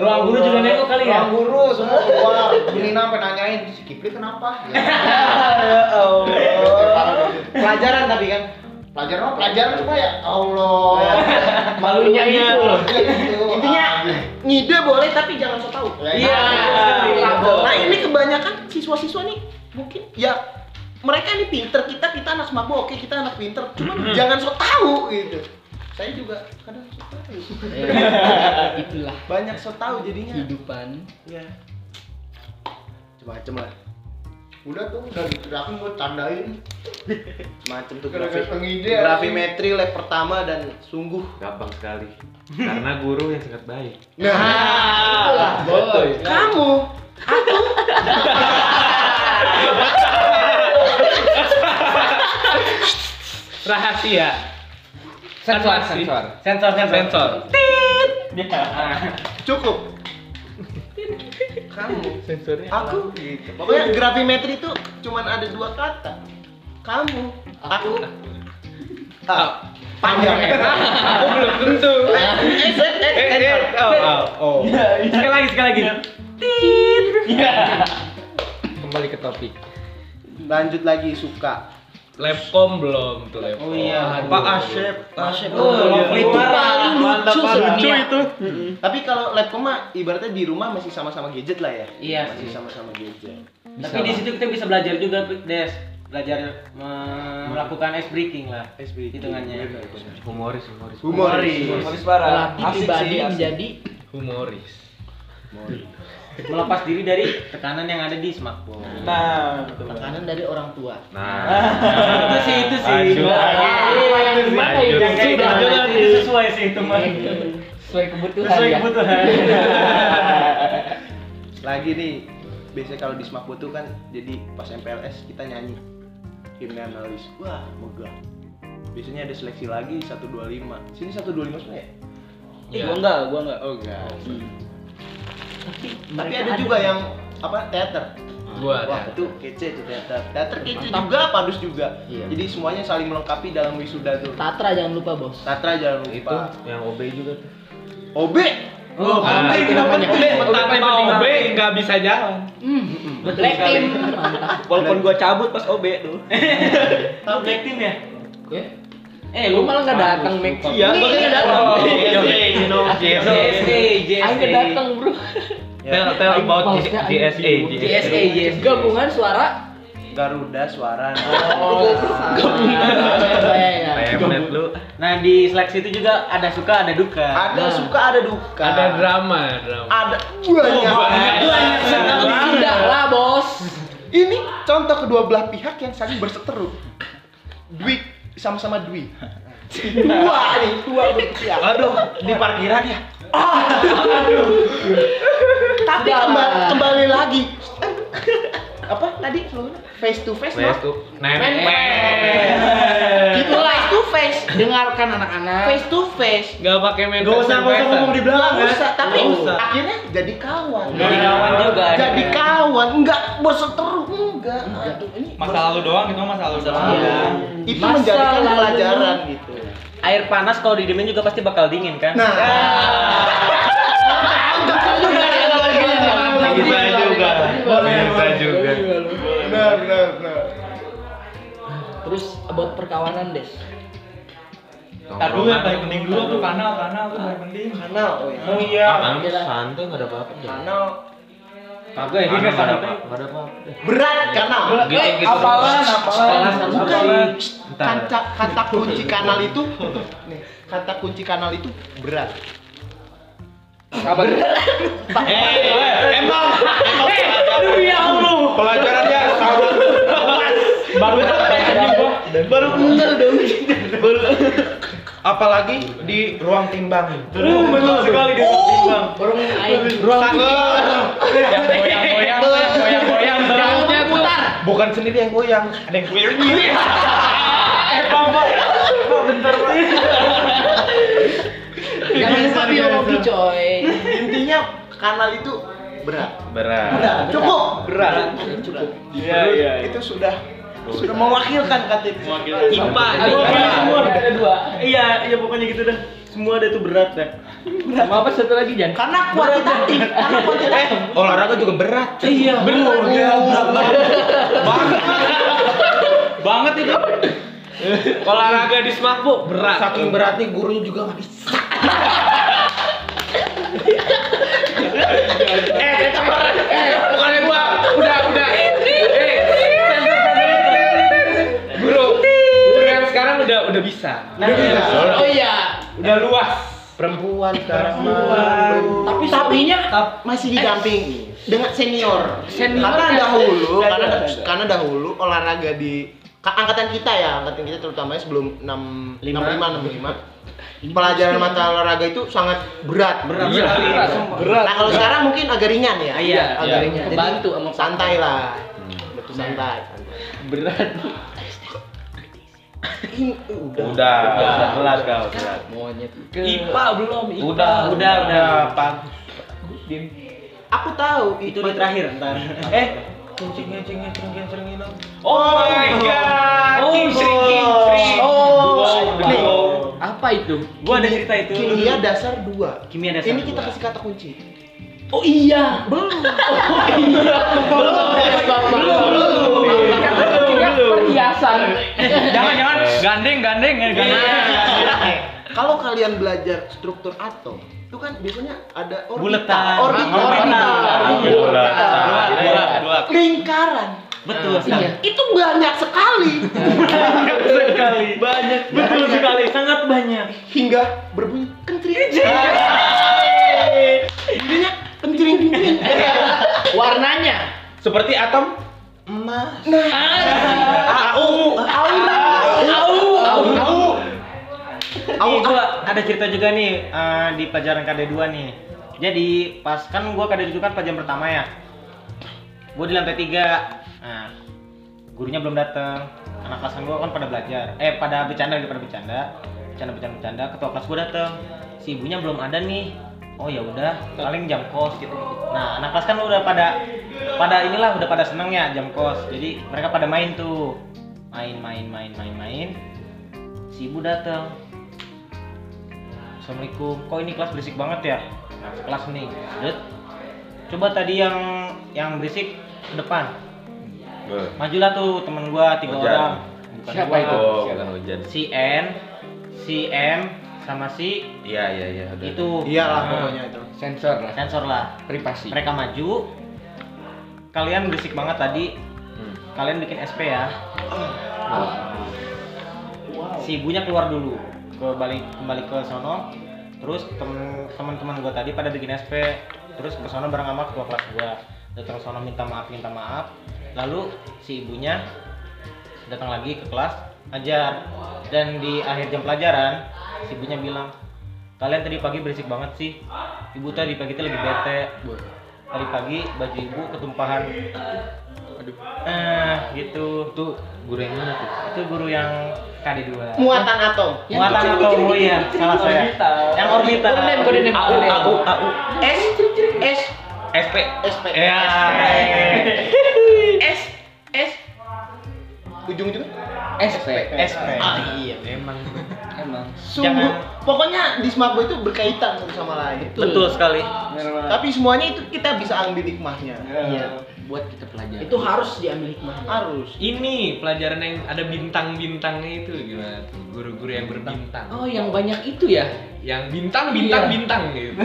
Ruang guru juga nengok kali ya. Ruang guru semua keluar. Bunina sampai nanyain si Kipli kenapa? Ya, parah banget. Pelajaran tapi kan. Pelajaran mah pelajaran cuma ya Allah. Malunya itu loh. Gitu. Intinya ngide boleh tapi jangan so tau. Ya, Iya. Nah ini kebanyakan siswa-siswa nih mungkin ya mereka ini pinter kita kita anak semako oke kita anak pinter cuman jangan so tau gitu. Saya juga kadang so tau. Iya, Itulah Banyak so tau jadinya. kehidupan. Ya. Macem-macem lah. Udah tuh dari gerakan gua tandain. Macem tuh Gara-gara grafik. pengide. Grafimetri lab pertama dan sungguh. Gampang sekali. Karena guru yang sangat baik. Nah, Boy. kamu Rahasia. Sensor, Apa sih? sensor. Sensor, sensor. Sensor. cukup. Kamu aku gitu. Pokoknya grafimetri itu cuman ada dua kata. Kamu, aku. Ah, panjang enak. Aku belum tentu. Eh, eh, eh, Eh, eh, eh. oh, oh, oh. Sekali lagi, sekali lagi. Kembali ke topik. Lanjut lagi suka. Labcom belum tuh Labcom. Oh iya. Pak aduh. Asep. Masih Oh, itu paling lucu Lucu sedunia. itu. Tapi kalau laptop mah ibaratnya di rumah masih sama-sama gadget lah ya. Iya Masih sih. sama-sama gadget. Tapi di situ kita bisa belajar juga, Des. Belajar me- melakukan ice breaking lah. Ice breaking. iya, Hitungannya. Humoris, humoris. Humoris. Habis parah. Melatih pribadi asik. menjadi Humoris. Melepas diri dari tekanan yang ada di smartphone. Nah, betul. tekanan Eh, dari orang tua. Ah. Nah, itu sih, itu sih. Lanjut. Gimana ya? Lanjut. Yang kayak Sudah, gitu, lanjut. itu sesuai sih teman. Sesuai kebutuhan Sesuai ya. kebutuhan. Lagi nih, biasanya kalau di Smakbo tuh kan jadi pas MPLS kita nyanyi himne analis. Wah, megah. Biasanya ada seleksi lagi 125. Sini 125 semua ya? Iya. Gua enggak, gua enggak. Oh enggak. Tapi Tapi, mereka ada juga yang apa? Teater. Gua Wah, ada. itu kece tuh teater. Teater kece juga, padus juga. Iya. Jadi semuanya saling melengkapi dalam wisuda tuh. Tatra jangan lupa, Bos. Tatra jangan lupa. itu yang OB juga tuh. OB. Oh, Ah, penting, itu namanya. penting. Tanpa OB nggak bisa jalan. Hmm, Betul black sekali. team. Mantap. Walaupun gua cabut pas OB tuh. Lu black team ya? Gue. Eh, Lu malah nggak datang, Mek. Iya, Nih, gua kan nggak nggak datang. datang. iya, JSD, Ayo JSD. nggak datang, Bro. Tell tell about Maksudnya ada GSA, iya, JSA, JSA. Gabungan suara Garuda suara. Nah, Iya, gabungan. Pemnet lu. Nah, di seleksi itu juga ada suka, ada duka. Ada Nah. suka, ada duka. Ada drama, drama. Ada banyak. Senang tidak lah, Bos. Ini contoh kedua belah pihak yang saling berseteru. Dwi sama-sama Dwi. Dua nih, dua berpihak. Aduh, di parkiran ya. Tapi Sudah. kembali, kembali lagi. Apa tadi slogannya? Face to face, Wes no? Iya, tuh. Nenek. Eh. Gitu face to face. Dengarkan anak-anak. Face to face. Nggak pakai main Gak usah gak usah ngomong di belakang Nggak kan. usah, tapi Nggak usah. akhirnya jadi kawan. Jadi kawan juga. ada. Jadi kawan, enggak berseteru, enggak. Aduh, ini Masa lalu doang itu mah masa lalu doang. Iya. itu Masa menjadikan lalu. pelajaran gitu. Air panas kalau didemin juga pasti bakal dingin kan? Nah, iya. Bisa juga. Bisa juga. Benar, benar, benar. Terus buat perkawanan, Des. Aduh, yang paling Tongkrongan. penting dulu tuh kanal, kanal tuh paling penting. kanal, oh ya. Oh iya. Apaan lu santai nggak ada apa-apa. deh. Kanal Kagak Aneh, nggak ada apa-apa. nggak ada apa-apa. deh. berat kanal. Gitu gitu. Apalan, apalan. Bukan. Apalan. Shh, Kata, kata kunci kanal itu nih, kata kunci kanal itu berat. Emang, emang. Aduh ya Allah. Pelajarannya sama. Baru Baru bener dong. apalagi di ruang timbang. iya. Uh, betul sekali di ruang Oh. timbang. Burung air. Ruang timbang. Yang goyang-goyang, yang goyang-goyang. Jangan lupa putar. Bukan sendiri yang goyang, ada yang goyang gini. Eh, Bambang. Bambang, bentar, Bang. Jangan lupa biologi, coy. Intinya kanal itu berat. Berat. Berat. Cukup. Berat. Iya, iya. Itu sudah Sudah mewakilkan KTP. IPA, Aduh, IPA. ini semua ada dua. Iya, iya pokoknya gitu dah. Semua ada tuh berat dah. Sama apa satu lagi, Jan? Karena kuantitatif, karena kuantitatif. Olahraga juga berat. Iya, benar. Banget itu. Olahraga di Smapbo berat. Saking beratnya gurunya juga nggak bisa. Bukannya gua udah udah. Eh, Guru, guru yang sekarang udah udah bisa. Oh iya. Udah luas. Perempuan sekarang. Tapi sapinya masih didampingi dengan senior. Senior Karena kan? dahulu, Ada, karena ada. karena dahulu olahraga di ka- angkatan kita ya, angkatan kita terutamanya sebelum 6 65 65. Pelajaran mata olahraga itu sangat berat. Iya. Nah, kalau sekarang mungkin agak ringan ya. Iya, agak iya. ringan. Jadi, Kebantu sama Hmm. santai lah. Betul santai. berat. Ini udah. Udah, udah berat kau, berat. Monyet. IPA belum. IPA. Udah, Udah, udah. Aku tahu Itu di terakhir ntar. Eh, Oh my god. Oh, King Sri, King Sri. Oh, Wow, nih. wow. Apa itu? gua ada cerita itu. Kimia dasar 2. Kimia dasar Ini kita dua. kasih kata kunci. Oh iya. Belum. Oh iya. Belum. Belum. Belum. Perhiasan. Jangan jangan Eh. gandeng gandeng ya, gandeng. Kalau kalian belajar struktur atom, itu kan biasanya ada orbita, Buletan. orbita, Ah, orbita, orbita. orbita, Dua, dua, dua. lingkaran. Betul sekali. Iya. Itu banyak sekali Banyak. Betul sekali. Sangat banyak. hingga berbunyi kentring. Iya. Bunyinya kentring kentring. Warnanya. Seperti atom Emas. Nah. AU. Au. Au. Au. Ih, gua ada cerita juga nih eh, di pelajaran KD2 nih. Jadi pas kan gua KD itu kan pelajaran pertama ya. Gua di lantai 3. Nah, gurunya belum datang. Anak kelasan gua kan pada belajar. Eh, pada bercanda gitu, pada bercanda. Bercanda bercanda bercanda. Ketua kelas gua datang. Si ibunya belum ada nih. Oh ya udah, paling jam kos gitu. Nah, anak kelas kan udah pada pada inilah udah pada seneng ya jam kos. Jadi mereka pada main tuh. Main main main main main. Si ibu datang. Assalamualaikum. Kok ini kelas berisik banget ya? Nah, kelas nih. Dut. Coba tadi yang yang berisik ke depan. Majulah tuh temen gua tiga Ojan. orang. Bukan Siapa gua. itu? Oh, bukan hujan. Si N, si M sama si Iya, iya, iya. udah. itu. Iyalah Nah, pokoknya itu. Sensor lah. Sensor lah. Privasi. Mereka maju. Kalian berisik banget tadi. Hmm. Kalian bikin SP ya. Si ibunya keluar dulu. Ke balik kembali ke sono. Terus temen- teman-teman gua tadi pada bikin SP. Terus ke sono bareng sama ketua kelas gua. Datang ke sono minta maaf, minta maaf. Lalu si ibunya datang lagi ke kelas ajar dan di akhir jam pelajaran si ibunya bilang kalian tadi pagi berisik banget sih ibu tadi pagi itu lagi bete tadi pagi baju ibu ketumpahan aduh eh gitu itu Guru yang mana tuh? itu guru yang KD2 Muatan atom. Yang muatan kecil, atau kecil, oh iya kecil, salah saya orbital. yang orbital Kode name, kode name, AU kode name. AU AU S S SP. SP. Ya. S S ujung-ujungnya SP. SP iya Emang. Emang. sungguh pokoknya di Smapbo itu berkaitan satu sama lain betul sekali tapi semuanya itu kita bisa ambil hikmahnya Iya. Buat kita pelajari. itu harus diambil hikmahnya harus Ini pelajaran yang ada bintang-bintangnya itu gimana tuh? Guru-guru yang berbintang. Oh, yang banyak itu ya? Yang bintang bintang Iya. bintang gitu.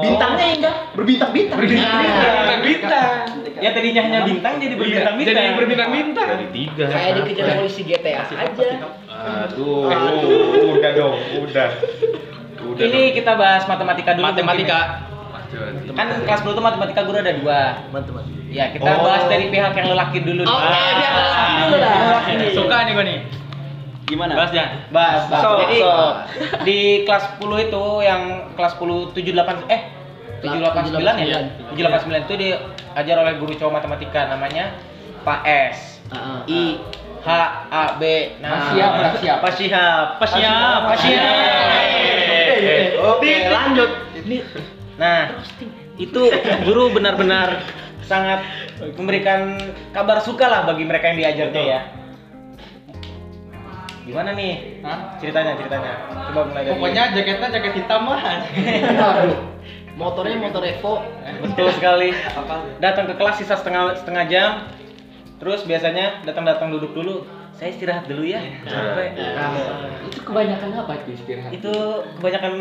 bintangnya indah berbintang-bintang Bintang bintang. ya tadinya hanya bintang jadi Iya. berbintang bintang Iya, Jadi berbintang bintang. Dari tiga. Kayak dikejar polisi GTA aja. Aduh, udah dong, udah. Udah. ini kita bahas matematika dulu Matematika. mungkin. kan kelas 10 tuh matematika guru ada dua teman-teman Ya, kita bahas Oh. dari pihak yang lelaki dulu. Oke, Ah. biar lelaki dulu lah. Lelaki nih. Suka nih gua nih. Gimana? Bahas jangan. Bahas, bahas. So, Jadi so. di kelas 10 itu yang kelas 10 78 eh 789 ya? 789 itu diajar oleh guru cowok matematika namanya Pak S. Iya. I H A B Pak Nah. Siap, Pak Siap. Pak Siap, Pak Siap, Pak Siap. Iya. oke lanjut Nah, itu guru benar-benar sangat memberikan kabar suka lah bagi mereka yang diajarnya ya. Gimana nih? Ceritanya, ceritanya. Coba mulai dari. Pokoknya jaketnya jaket hitam lah. Motornya motor Evo. betul sekali. Datang ke kelas sisa setengah setengah jam. Terus biasanya datang-datang duduk dulu. Saya istirahat dulu ya. Capek. Itu kebanyakan apa itu istirahat? Nah. Itu kebanyakan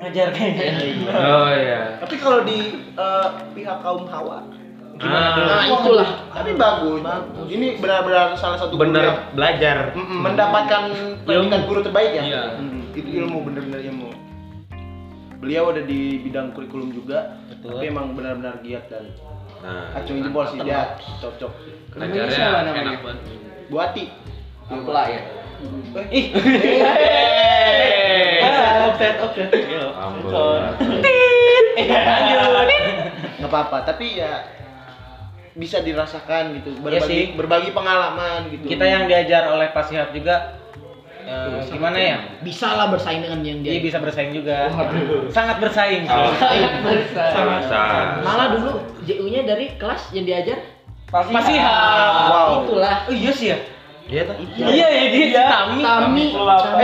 ngajar kayaknya. Oh iya. Tapi kalau di eh, pihak kaum hawa, Ah, nah itulah. Tapi bagus. Ini benar-benar salah satu guru yang- Ah, bener belajar Mm-mm, mendapatkan pendidikan guru terbaik ya. Iya. Mm, itu ilmu bener-bener ilmu. Beliau ada di bidang kurikulum juga, tapi emang benar-benar giat dan nah acungin jempol sih dia iya, cocok. ngajarnya enak banget. Buati. Ampela ya. Ih, ampun nggak apa-apa. Tapi ya bisa dirasakan gitu Iya sih. berbagi berbagi pengalaman gitu Kita yang diajar oleh Pak Sihab juga eh, gimana ya? Bisa lah bersaing dengan yang Dia dia. bisa bersaing juga. Sangat bersaing. Bersaing, bersaing. Salasa. Malah dulu Iya. JU-nya dari kelas yang diajar Pasti Pak Ah, Sihab. Wow. Itulah. Oh, iya sih ya? iya tuh Iya ya dia Tami. Tami.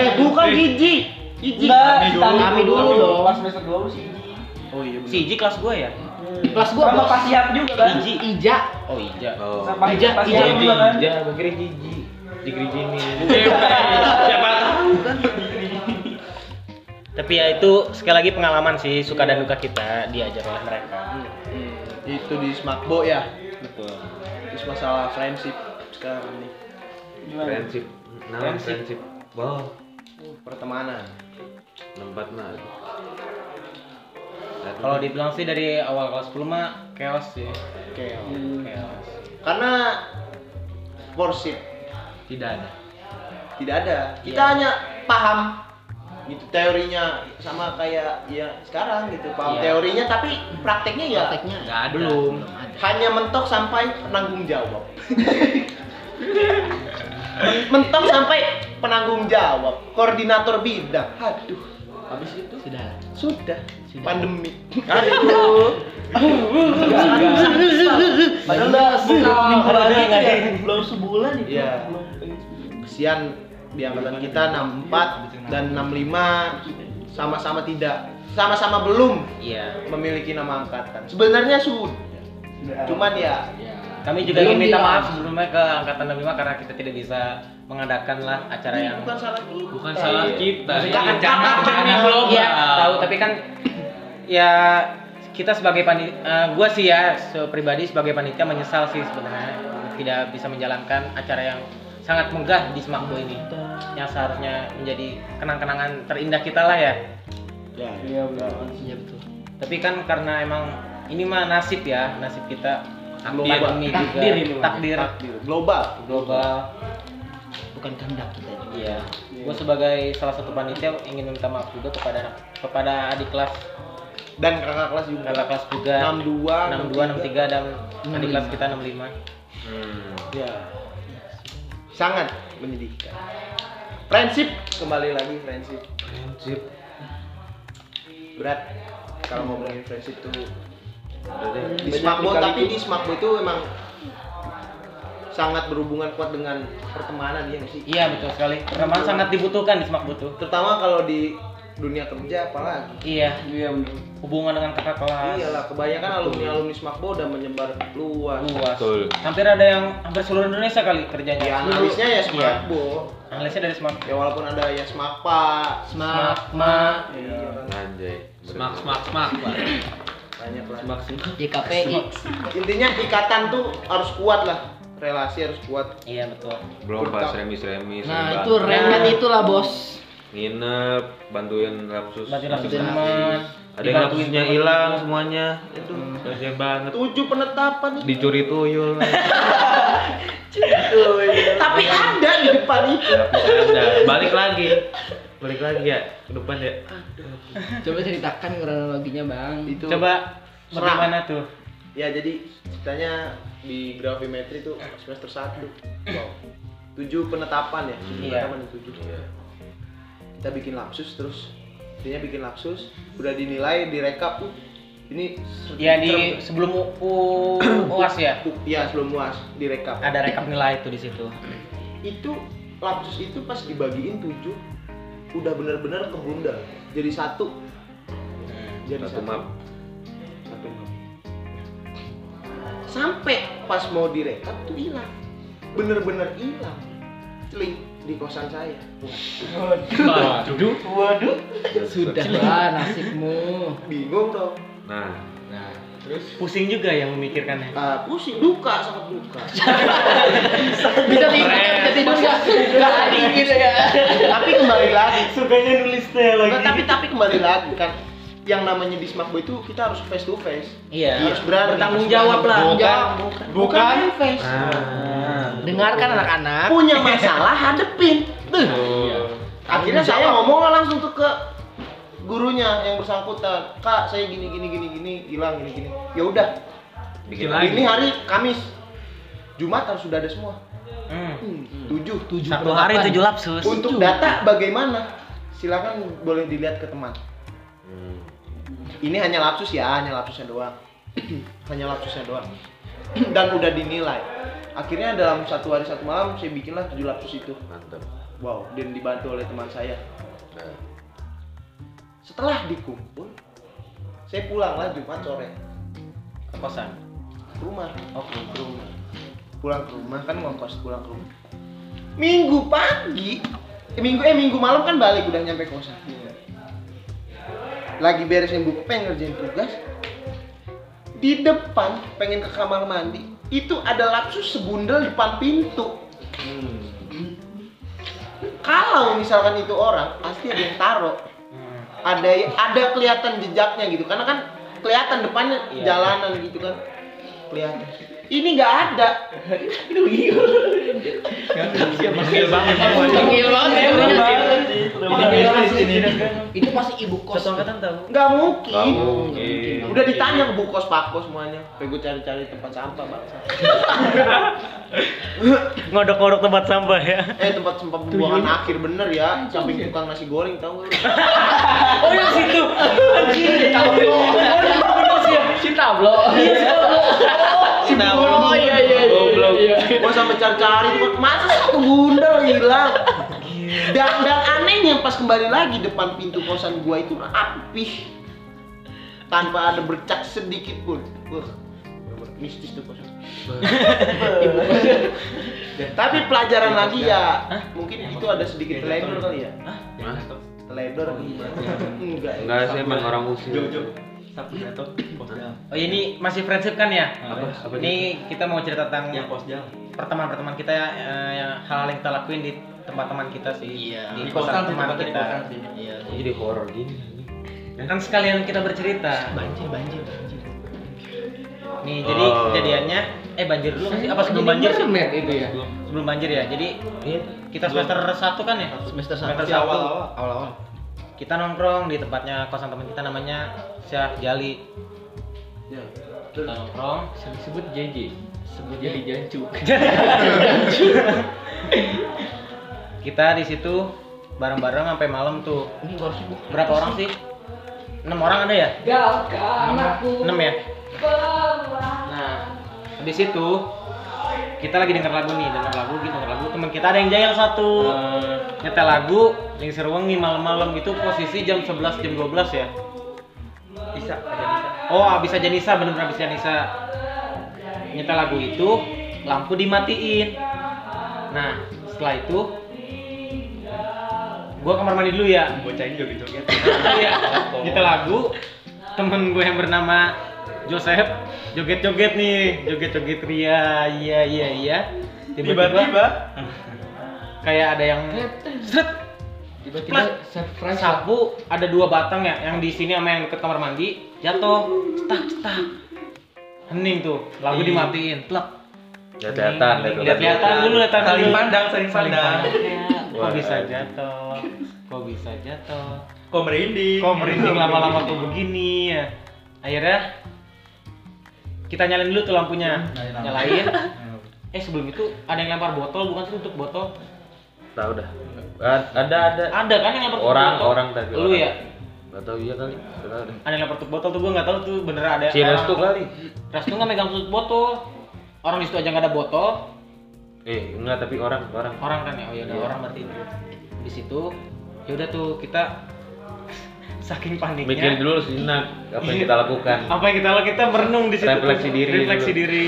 Eh, bukan Gigi. Gigi. Enggak, si Tami. Tami dulu dong. Pas semester 2 lu sih Iji. Oh iya, Si Iji kelas gue ya? Kelas gua Sama bos. pas siap juga kan. Iji, Ija. Oh Ija. oh Sama Ija, pas Ija, siap juga kan. Tapi ya itu sekali lagi pengalaman sih suka dan duka kita diajar oleh mereka. Hmm. itu di smakbo ya betul terus masalah friendship sekarang nih friendship nama friendship wow pertemanan tempat mah Kalau dibilang sih dari awal kelas 10 mah chaos sih. Oke. Chaos. karena worship Tidak ada. tidak ada kita hanya paham gitu teorinya sama kayak ya sekarang gitu paham Iya. teorinya tapi prakteknya ya Prakteknya Nggak ada. belum. ada. hanya mentok sampai penanggung jawab Men- mentok sampai penanggung jawab koordinator bidang aduh Habis itu sudah. sudah, Sudah. pandemi Padahal udah minggu Padahal lagi nggak ada. ya. Belum sebulan itu. Iya. kesian di angkatan kita 64 dan 65 sama-sama tidak sama-sama belum Iya. memiliki nama angkatan sebenarnya sudah cuman ya Kami juga Belum ingin minta bilang. maaf sebelumnya ke angkatan 65 karena kita tidak bisa mengadakan lah acara ini yang bukan salah kita Bukan salah kita. Bukan Ini Bencana bencana global. Iya, kan tahu tapi kan ya kita sebagai panit eh, gua sih ya se- pribadi sebagai panitia menyesal sih sebenarnya tidak bisa menjalankan acara yang sangat megah di Smakbo ini yang seharusnya menjadi kenang-kenangan terindah kita lah ya Iya, benar. Iya betul. tapi kan karena emang ini mah nasib ya nasib kita Takdir. pandemi juga Takdir ini mah. takdir global global Bukan kehendak kita juga. Iya. Gue sebagai salah satu panitia ingin minta maaf juga kepada anak, kepada adik kelas, dan kakak kelas juga kakak kelas juga 62 62, 63 dan adik kelas kita 65. ya sangat menyedihkan friendship kembali lagi friendship friendship berat kalau mau ngomongin friendship tuh udah deh di Smakbo tapi di Smakbo itu emang sangat berhubungan kuat dengan pertemanan ya nggak sih Iya betul sekali. Pertemanan sangat dibutuhkan di semak butuh. terutama kalau di dunia kerja apalagi Iya. Iya, benar. Hubungan dengan kakak kelas. Iya. iyalah kebanyakan alumni alumni Smakbo udah menyebar luas Luas. Betul. Hampir ada yang hampir seluruh Indonesia kali kerjanya. ya analisnya ya Iya. Smakbo Analisnya dari semak. ya walaupun ada ya Smakpa Smart. Smakma. iya kan, anjay Semak semak semak. Pak. banyak lah JKPI. intinya ikatan tuh harus kuat lah relasi harus kuat Iya betul. belum pas remis remis Nah, itu remet itulah, Bos. nginep bantuin lapsus Bantuin lapsus Bantuin teman. ada yang Dibantuin lapsusnya teman. hilang semuanya itu kasian banget tujuh penetapan itu dicuri tuyul tapi ada di depan itu lapis ada balik lagi balik lagi ya ke depan ya Coba ceritakan kronologinya, Bang. itu Coba Serang. bagaimana tuh? Ya jadi ceritanya di grafimetri itu semester 1 Wow 7 penetapan ya, tujuh Iya. penetapan dan tujuh. Kita bikin lapsus terus Intinya bikin lapsus, udah dinilai, direkap uh, Ini ser- Ya di ser- sebelum U- UAS ya. uh, Iya sebelum muas, direkap Ada rekap nilai tuh di situ. Itu Lapsus itu pas dibagiin tujuh udah benar-benar ke Jadi satu. Jadi satu map Satu map. Sampai pas mau direkap tuh hilang. Bener-bener hilang. Celing di kosan saya. Waduh. Waduh. Sudahlah nasibmu. Bingung dong. nah Nah, terus Pusing juga yang memikirkannya. Ah, pusing duka sangat duka. Bisa tidur nggak? bisa tidur nggak? Nggak ada gitu ya. tapi kembali lagi Sukanya nulis teh Enggak, Nah, tapi tapi kembali lagi kan yang namanya di Smakbo itu kita harus face to face Iya. harus berani Bertanggung jawab lah. Jawab. Bukan. face Dengarkan anak-anak. punya masalah hadepin Tuh. Iya. akhirnya saya ngomong lah langsung tuh ke gurunya yang bersangkutan kak saya gini gini gini gini hilang gini gini ya udah bikin ini lagi. hari Kamis Jumat harus sudah ada semua Hmm, tujuh tujuh Satu hari Delapan. tujuh lapsus. untuk data bagaimana silakan boleh dilihat ke teman ini hanya lapsus ya hanya lapsusnya doang hanya lapsusnya doang dan udah dinilai akhirnya dalam satu hari satu malam saya bikinlah tujuh lapsus itu mantap wow dan dibantu oleh teman saya nah, setelah dikumpul saya pulanglah jumat sore Ke kosan. ke rumah oh ke rumah pulang ke rumah kan ngongkos pulang ke rumah minggu pagi eh, minggu eh minggu malam kan balik udah nyampe kosan lagi beresin buku pengen ngerjain tugas di depan pengen ke kamar mandi itu ada lapsus sebundel depan pintu kalau misalkan itu orang pasti ada yang taruh ada ada kelihatan jejaknya gitu karena kan kelihatan depannya jalanan gitu kan kelihatan ini nggak ada Gokil Iya, banget. Tengil banget ya. gurunya. Itu masih ibu kos. Satu angkatan tahu. nggak mungkin. mungkin. udah ditanya ke bu kos pak kos semuanya Kayak gue cari-cari tempat sampah bangsa Ngodok-ngodok tempat sampah ya. eh tempat sampah pembuangan akhir bener ya samping tukang nasi goreng tau gak lu? Oh iya, yang situ. Anjir. Oh, Iya, Si tablo. Nah, Oh iya iya iya, iya. Gua sampai cari-cari gua, masa satu bundel hilang. Dan, dan anehnya pas kembali lagi depan pintu kosan gua itu rapih tanpa ada bercak sedikit pun. Wah, bener-bener mistis tuh kosan. Tapi pelajaran lagi ya, mungkin itu ada sedikit teledor kali ya. Oh, Teledor apa iya. gimana? Enggak. enggak saya emang orang usil Oh ini masih friendship kan ya? Apa- apa ini kita mau cerita tentang yang posjal pertemanan-pertemanan kita ya, eh, yang hal-hal yang kita lakuin di tempat teman kita sih. Iya. Di di kosan kosan sih teman tempatnya di kita. kosan sih Iya. jadi horor gini Kan sekalian kita bercerita. Banjir banjir banjir. Nih jadi Oh. kejadiannya eh banjir dulu nggak sih? Apa sebelum Jadi banjir? sih? internet itu ya. Sebelum banjir ya. Jadi kita semester 1 kan ya? Semester satu. Semester iya, Masih 1. awal-awal Awal-awal. Kita nongkrong di tempatnya kosan teman kita namanya Syah Jali. Kita nongkrong Ya, Sebut JJ. Sebut jadi jancuk. kita di situ bareng-bareng sampai malam tuh Ini harus buka. berapa orang sih enam orang ada ya enam ya nah habis itu kita lagi denger lagu nih denger lagu gitu denger lagu teman kita ada yang jahil satu Eh. nyetel lagu yang seruangi malam-malam itu posisi jam 11 jam 12 ya bisa oh abis aja Nisa bener-bener abis aja Nisa nyetel lagu itu lampu dimatiin nah setelah itu gua kamar mandi dulu ya Bocahin gitu, kan? joget-joget. Iya, nyetel lagu temen gue yang bernama Joseph joget-joget nih joget-joget ria iya iya iya tiba-tiba tiba-tiba kayak ada yang seret Tiba-tiba surprise. sapu ada dua batang ya yang di sini sama yang ke kamar mandi jatuh tak tak hening tuh lagu dimatiin plak ya kelihatan Hening, kelihatan. kelihatan dulu lihat saling pandang saling pandang kok bisa jatuh kok bisa jatuh kok merinding kok merinding lama-lama tuh begini ya akhirnya kita nyalain dulu tuh lampunya nyalain eh sebelum itu ada yang lempar botol bukan sih untuk botol tahu dah A- ada ada ada kan yang lempar tutup orang botol? orang tadi lu orang. ya nggak tahu iya kali nggak tahu deh ada yang lempar tutup botol tuh gua nggak tahu tuh bener ada si orang. restu kan? kali Restu nggak megang tutup botol orang di situ aja nggak ada botol Eh, enggak tapi orang, orang. orang kan ya oh ya Iya. udah orang berarti di situ ya udah tuh kita saking Mikir paniknya dulu sejenak apa yang kita lakukan. apa yang kita lakukan kita merenung di situ tuh. Refleksi diri refleksi dulu. diri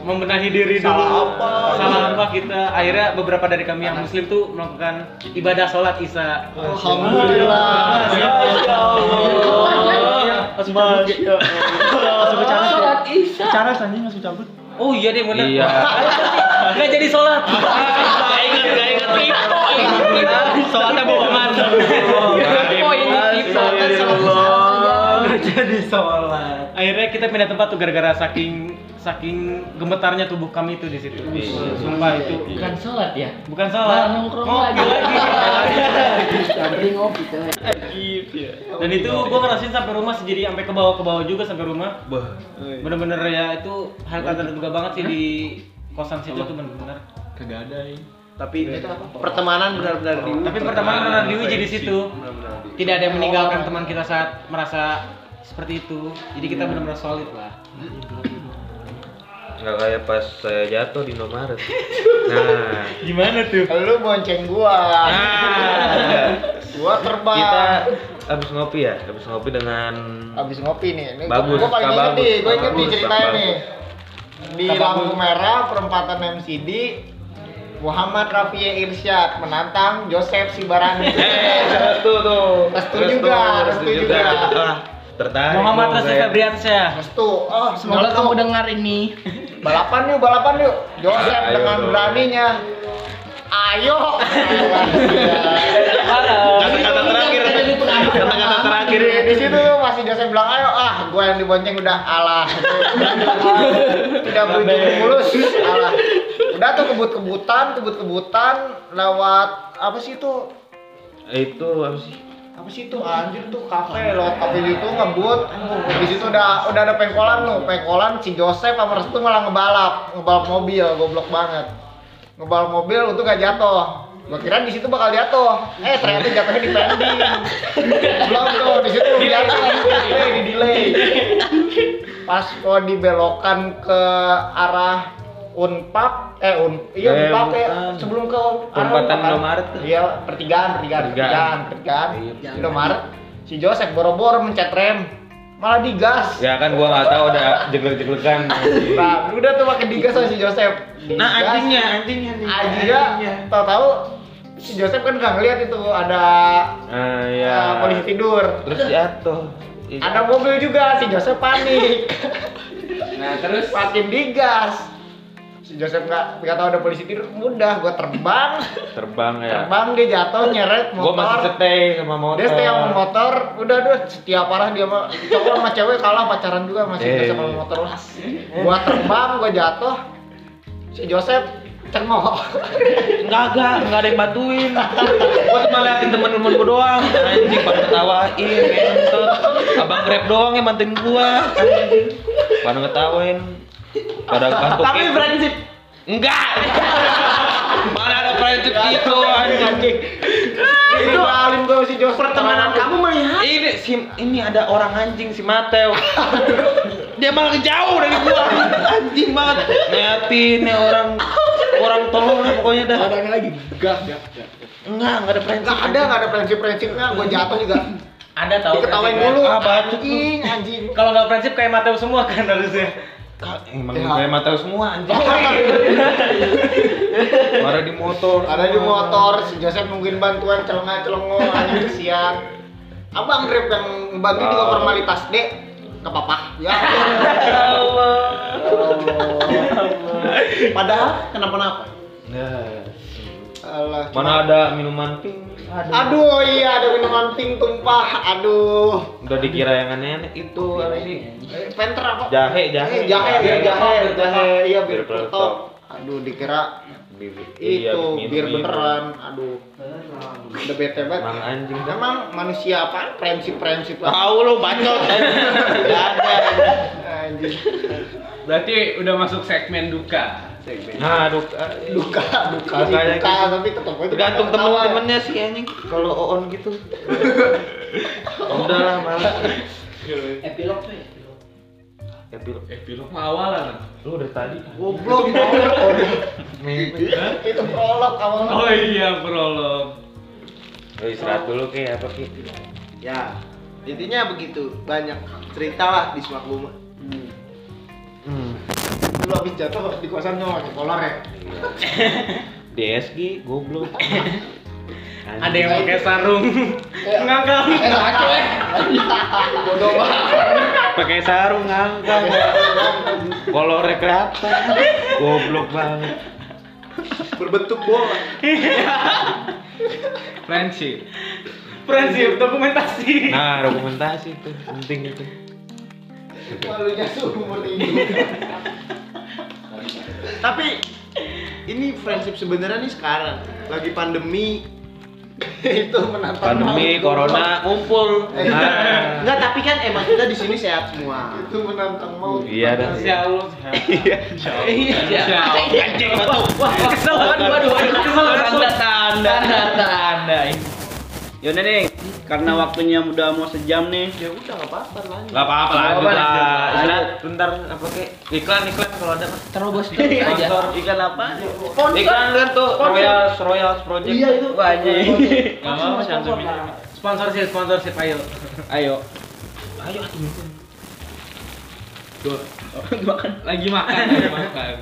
membenahi diri dulu Salah apa? salah apa kita akhirnya beberapa dari kami yang muslim tuh melakukan ibadah sholat isya Alhamdulillah. Masya Allah. Masya Masuk Allah. cabut ya. Sholat isya. Cara anjing masuk cabut. oh iya deh bener Iya. nggak jadi sholat Gak ingat, gak ingat Tipe, ingat Soalnya bohongan Poin Astagfirullah. jadi sholat akhirnya kita pindah tempat tuh gara-gara saking saking gemetarnya tubuh kami itu di situ Iya. sumpah itu Bukan sholat ya. bukan Malah sholat nongkrong Ngopi lagi. lagi. Gitu ya. Sambil ngopi tuh. dan itu gua ngerasain sampai rumah sih, jadi sampai ke bawah ke bawah juga sampai rumah bener-bener ya itu hal kagak terduga banget sih di kosan situ tuh bener-bener Tapi pertemanan benar-benar di tapi pertama benar diuji di situ tidak ada yang meninggalkan teman kita saat merasa seperti itu jadi kita benar-benar solid lah Enggak kayak pas saya jatuh di Nomaret. Nah, gimana tuh Lu bonceng gua. Nah. Gua terbang. kita habis ngopi ya, habis ngopi dengan Abis ngopi nih. Ini Bagus, Gua paling Kak inget nih, Bagus, Kak gua inget nih Bagus, ceritanya Kak nih. Di lampu merah perempatan MCD Muhammad Rafi Irsyad menantang Joseph Eh, Sibarani. restu tuh. Eh. Restu juga, restu juga. Ah, tertarik. dong Muhammad Rasul saya. Febriansyah Restu, Kalau oh semoga kamu tuh. dengar ini, Balapan yuk, balapan yuk. Joseph Ayo dengan dong. beraninya. Ayo. Kata-kata terakhir. Kata-kata terakhir. Di, di situ tuh masih Joseph bilang ayo ah gua yang dibonceng udah alah tidak berujung mulus alah udah tuh kebut kebutan kebut kebutan lewat apa sih itu Itu apa sih? apa sih itu anjir tuh kafe lewat kafe itu ngebut di situ udah udah ada pengkolan tuh pengkolan si Joseph sama Restu malah ngebalap ngebalap mobil goblok banget ngebalap mobil untuk gak jatuh gua kira di situ bakal jatuh eh ternyata jatuhnya di pending belum tuh di situ belum jatuh delay di delay pas mau dibelokan ke arah unpap eh un iya Eh, unpap ya bukan. sebelum ke arah Perempatan Unpap kan? Indomaret tuh. iya pertigaan pertigaan pertigaan Pertigaan. pertigaan Iya, Indomaret si Joseph boro-boro mencet rem malah digas Ya kan gua nggak tahu udah jeglek-jeglekan. nah udah tuh pakai digas sama si Joseph nah Digas. anjingnya anjingnya nih. anjingnya tahu-tahu si Joseph kan nggak ngeliat itu ada Ah, ya. eh, polisi tidur Terus jatuh. Ih, ada mobil juga si Joseph panik nah terus makin digas si Joseph nggak nggak tahu ada polisi tidur udah gua terbang terbang ya. terbang dia jatuh nyeret Gua masih motor stay sama motor. dia stay sama motor udah udah setia parah dia mah cowok sama cewek kalah pacaran juga masih Eh. Joseph sama motor lah gua terbang gua jatuh si Joseph cengok Enggak, enggak, enggak ada yang bantuin Gua cuma liatin temen-temen gua doang Anjing, pada ketawain, ngentot Abang grab doang yang bantuin gua Pada ngetawain. Pada kantuk. tapi prinsip Enggak Mana ada prinsip gitu, anjing itu alim gua si Joseph pertemanan kamu melihat Ini, si, ini ada orang anjing, si Mateo Dia malah jauh dari gua Anjing banget Ngeliatin ya orang Orang tolong lah pokoknya dah Padangnya lagi gah gak. Enggak, enggak ada prinsip nggak ada nggak ada prinsip-prinsipnya gua jatuh juga ada tahu diketawain prinsipnya. dulu Ah, bacot tuh. anjing anjing kalau nggak prinsip kayak Mateo semua kan harusnya Kak, emang Ya. Oh. kayak Mateo semua anjing. Marah di motor. ada di motor si Joseph nungguin bantuan celengah celengo anjing kesian abang grab yang bantu juga Wow. formalitas dek nggak apa-apa ya Allah padahal kenapa-napa Nah. Allah Mana ada minuman pink? aduh iya ada minuman pink tumpah aduh Udah dikira yang aneh-aneh itu apa sih? Eh, penter apa Jahe, jahe. Eh, jahe iya, jahe peletok, bir jahe iya Bir bir peletok. peletok aduh dikira Bi- iya, itu minum bir itu. beneran aduh udah bete banget Emang anjing dah. Emang manusia apaan? Prinsip-prinsip lah. Tahu lu bacot. Gak ada. Anjir. Berarti udah masuk segmen duka segmen. Nah, aduh. Duka, duka, sih, Makanya duka, gitu. tapi tetap aja Tergantung ketawa. temen-temennya sih anjing. Kalau oon gitu. Udah lah, malas. epilog tuh ya. Epilog. Epilog Eh, mah awalan. Lu udah tadi. Goblok prolog. Itu prolog awal. Oh iya, prolog. Lu istirahat dulu kayak apa Ki? Ya, intinya begitu. Banyak cerita lah di semak bumi. Hmm. Lu habis jatuh di kosan nyawa ke kolor ya. DSG goblok. Ada yang pakai sarung. Ngangkat. Eh, ngaco eh. Bodoh banget. pakai sarung ngangkat. Kalau rekreator goblok banget. Iya. Berbentuk bola. Friendship. Prinsip dokumentasi. Nah, dokumentasi itu penting itu. Malunya seumur ini. Tapi ini friendship sebenarnya nih sekarang lagi pandemi. Itu menantang. Pandemi maut. corona kumpul. Nah, Enggak, tapi kan emang kita di sini sehat semua. Itu menantang mau. Iya, dah. Insya Allah. Iya. Insya Allah. Wah, kesel. Waduh, waduh, waduh. Kesel, kesel. Tanda-tanda. Tanda-tanda. Yaudah nih, karena waktunya udah mau sejam nih. Ya udah nggak apa-apa lah. Enggak apa-apa lah, Nggak apa-apa, lah. lanjut. Istirahat bentar apa Ki? Iklan iklan kalau ada Mas. Terobos dulu aja. Sponsor iklan apa? Iklan kan tuh Royal Royal Project. Iya itu. Wah, anjing. Gak apa-apa, santuy. gitu. Sponsorship, sponsorship, ayo. Ayo. Lagi makan, lagi makan.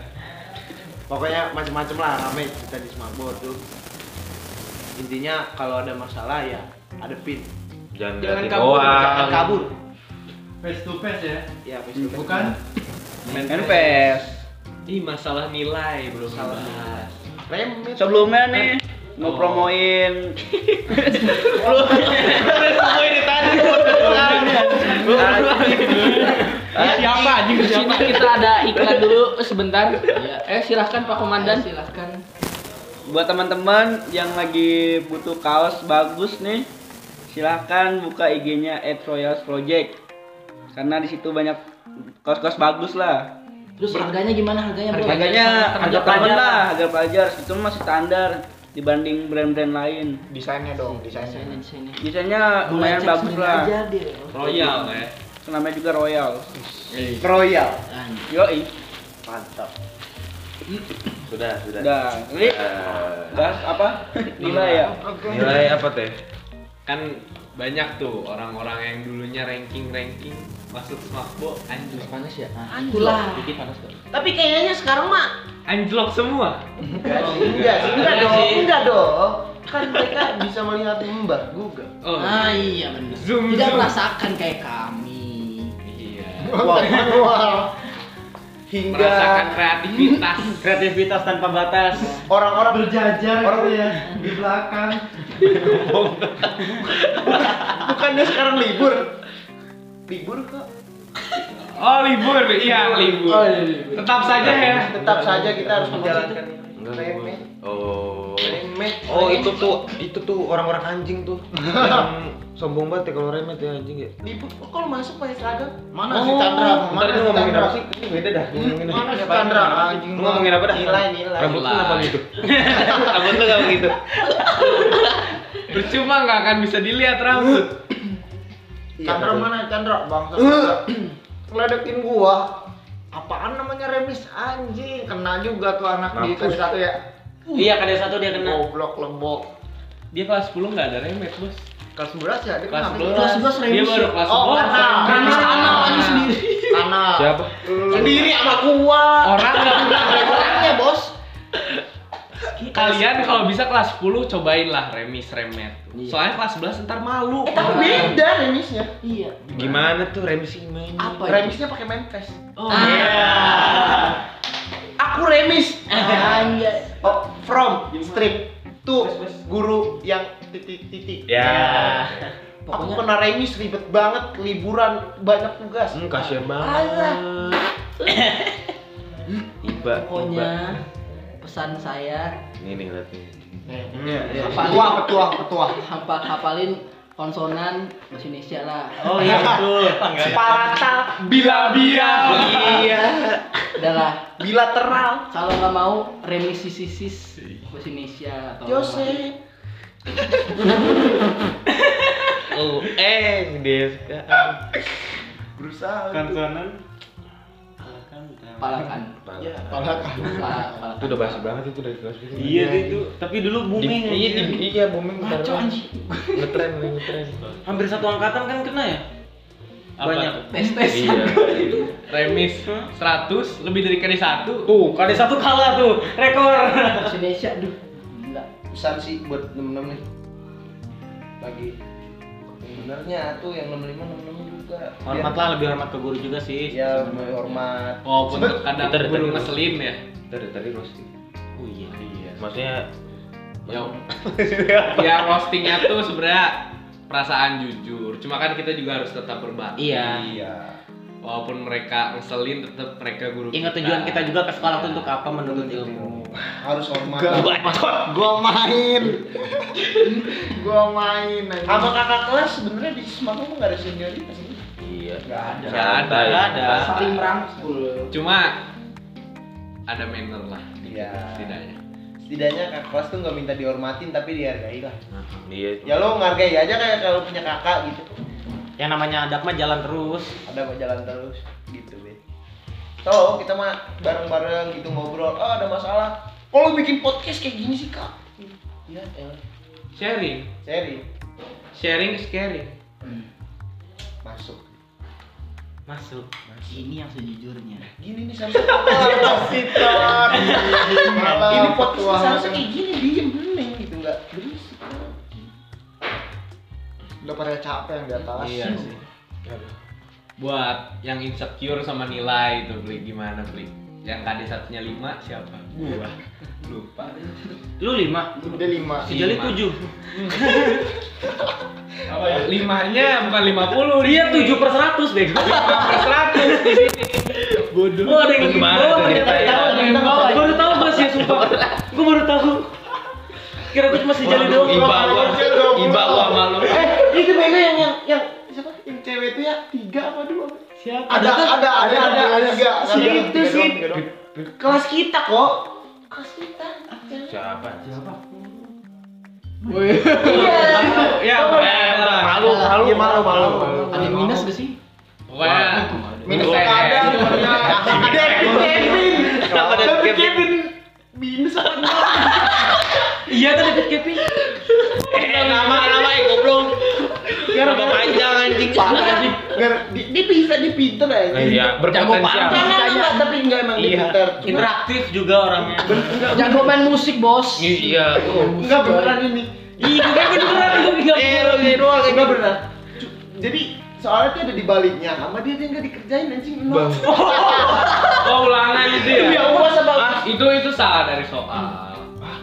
Pokoknya macam-macam lah rame kita di semak Bor, tuh. Intinya kalau ada masalah ya ada pin. Jangan Jangan ganti kabur, Jangan doang. kabur. Face to face ya. Ya, face to face. Bukan NPS. Ih, masalah nilai belum Salah. dibahas. Remit. Sebelumnya nih mau Oh. promoin Siapa anjing Sini kita ada iklan dulu sebentar. Iya. Eh, silahkan Pak Komandan. Silahkan. buat teman-teman yang lagi butuh kaos bagus nih silahkan buka IG-nya @royalsproject karena di situ banyak kaos-kaos bagus lah Terus harganya gimana harganya, Bro? harganya harga harga pelajar pelajar. lah harga pelajar itu masih standar dibanding brand-brand lain Desainnya dong, desainnya. Sini, sini. biasanya lumayan cek bagus sendiri lah aja deh. Royal ya. namanya juga royal Royal. Anjing. yoi Mantap. Sudah, sudah. udah jadi Eh, bahas apa nilai ya Nilai apa teh? kan banyak tuh orang-orang yang dulunya ranking-ranking masuk smartbo anjlok Panas ya? Itulah. Dikit panas kok. Tapi kayaknya sekarang mah anjlok semua enggak sih, enggak sih, enggak Iya Enggak dong, sih. enggak dong. Kan mereka bisa melihat mbak Google. oh Ah iya benar. Zoom, Tidak zoom. merasakan kayak kami. iya Wah, manual. merasakan kreativitas Kreativitas tanpa batas. Orang-orang berjajar Orang- gitu ya di belakang. Bukannya sekarang libur? Libur kok. oh libur iya libur tetap saja ya Tetap saja kita harus menjalankan remeh. Oh. Remeh. Oh itu tuh itu tuh orang-orang anjing tuh yang sombong banget ya kalau remet ya anjing ya. libur. Kok kalau masuk pakai seragam? mana si Chandra? Ntar Mana ini si ngomongin Chandra? apa sih? Ini beda dah ngomongin. Mana si Chandra? Anjing. Lu ngomongin apa dah? Nilai, nilai. Rambut lu apa gitu? Rambut lu apa gitu? percuma nggak akan bisa dilihat rambut Chandra mana? Chandra bangsa. Chandra. Ngeledekin gua. Apaan namanya remis anjing? Kena juga tuh anak di Mampus. kelas satu ya. Iya, kada satu dia kena. Goblok lembok. dia kelas 10 nggak ada remet bos Kelas 11 ya? Dia kelas kenapa? 11 Kelas 11 dia remes baru ya? kelas Oh, 11 karena Karena karena anak aja sendiri. karena Siapa? sendiri sama gua. orang nggak Orangnya bos. kalian kalau bisa kelas 10 cobain lah remis remet Iya. soalnya kelas 11 ntar malu Eh, Tapi beda remisnya. Iya. gitu? Gimana tuh remis gimana? Apa itu? Remisnya pakai mentes. Oh, iya. Aku remis. Anjay. Oh, from strip tuh guru yang titik-titik. Ya. Aku Pokoknya pernah remis ribet banget, liburan banyak tugas. Hmm, kasihan Alah. banget. Tiba, tiba. pokoknya pesan saya Nih nih lihat nih. hafalin- Petua, petua, petua. hapa- hafalin konsonan bahasa Indonesia lah. Oh iya itu. Separata bila bila Iya. Udah lah. bilateral. Kalau nggak mau remisisis bahasa Indonesia atau Jose. Oh, eh, Deska. Berusaha. Kan Konsonan Palakan. Iya. Palakan. Pa- Palakan. Itu udah basi banget itu dari kelas gitu. Iya sih itu. Tapi dulu booming. Di- anjir. Iya, di- iya booming bentar Ngaco, doang. anjing. Ngetren, ngetren. Hampir satu angkatan kan kena ya? Apa Banyak. tuh? Tes tes. Iya. Remis 100 lebih dari kali satu. Tuh, kali satu kalah tuh. Rekor. Indonesia duh. Gila. pesan sih buat temen-temen nih bagi sebenarnya tuh yang 65 66 juga Hormatlah lebih hormat ke guru juga sih. ya hormat Walaupun Sebe- kadang Bentar, guru bentar. ngeselin ya. Dari tadi roasting. Oh iya. Iya. Maksudnya Ya, ya roastingnya tuh sebenarnya perasaan jujur. Cuma kan kita juga harus tetap berbakti. Iya. iya. Walaupun mereka ngeselin, tetap mereka guru. Ingat tujuan kita juga ke sekolah tuh untuk apa menuntut ilmu. harus hormat Gua main. Gua main. anjing. sama kakak kelas sebenarnya di semangat tuh nggak ada senioritas ini Iya. Enggak ada. Nggak ada. Nggak ada. Saling merangkul. Cuma ada manner lah. Iya. Setidaknya. setidaknya kakak kelas tuh nggak minta dihormatin tapi dihargai lah Iya. ya lo ngargai aja kayak kalau punya kakak gitu Yang namanya adak mah jalan terus. ada apa jalan terus gitu be so kita mah bareng-bareng gitu ngobrol oh ada masalah kalau bikin podcast kayak gini sih kak iya ya Sharing, seri sharing is caring. masuk Masuk. Ini yang sejujurnya. Eh, gini nih sampai kapasitor Malah ini podcast petualangan. seharusnya kayak gini diem bening gitu nggak berisik Udah pada capek yang di atas. Iya sih. Buat yang insecure sama nilai itu beli gimana beli? Yang tadi satunya 5 siapa? Gua. Lupa. Lu lima. Udah lima. Si Jali Lima. tujuh. Apa ya? Limanya bukan 50 di Dia sini. Iya, tujuh per seratus bego. per 100 di sini. Bodoh. Gua ada yang di Gimana bawah, tuh ternyata kita ya? tahu ada yang di bawah. Baru tahu gua sih sumpah. Gua baru tahu. Kira gua cuma si Jali Waduh, doang. Iba gua, iba gua malu. Itu bego yang yang yang siapa? Yang cewek itu ya tiga apa dua? Siapa? Ada ada ada ada ada tiga. Si Ada, itu tiga sih. doang, tiga doang. Kelas kita kok. Siapa? Ya, keren lah. Malu, malu, Iya, malu, malu. Ada yang minus gak sih? Pokoknya Minus Gua nggak ada. keren. Ada yang Kevin. Tapi Kevin Iya kan deket Kevin. Eh, nama nama ya goblok. Nama panjang anjing. Nggak, di- dia bisa dia pinter ya. Iya, berpotensial. Enggak, tapi enggak emang dia Iya. pinter. Cuma Interaktif juga orangnya. Jago main musik, Bos. Iya. enggak beneran ini. Iya, Iya, gue kayak beneran gue bilang. Eh, lu gini doang Enggak beneran. gitu. Cu- Jadi soalnya dia ada di baliknya sama dia dia enggak dikerjain anjing. Nol. Oh, ulangan itu ya. Iya, Ya Allah sama Ah, itu itu salah dari soal.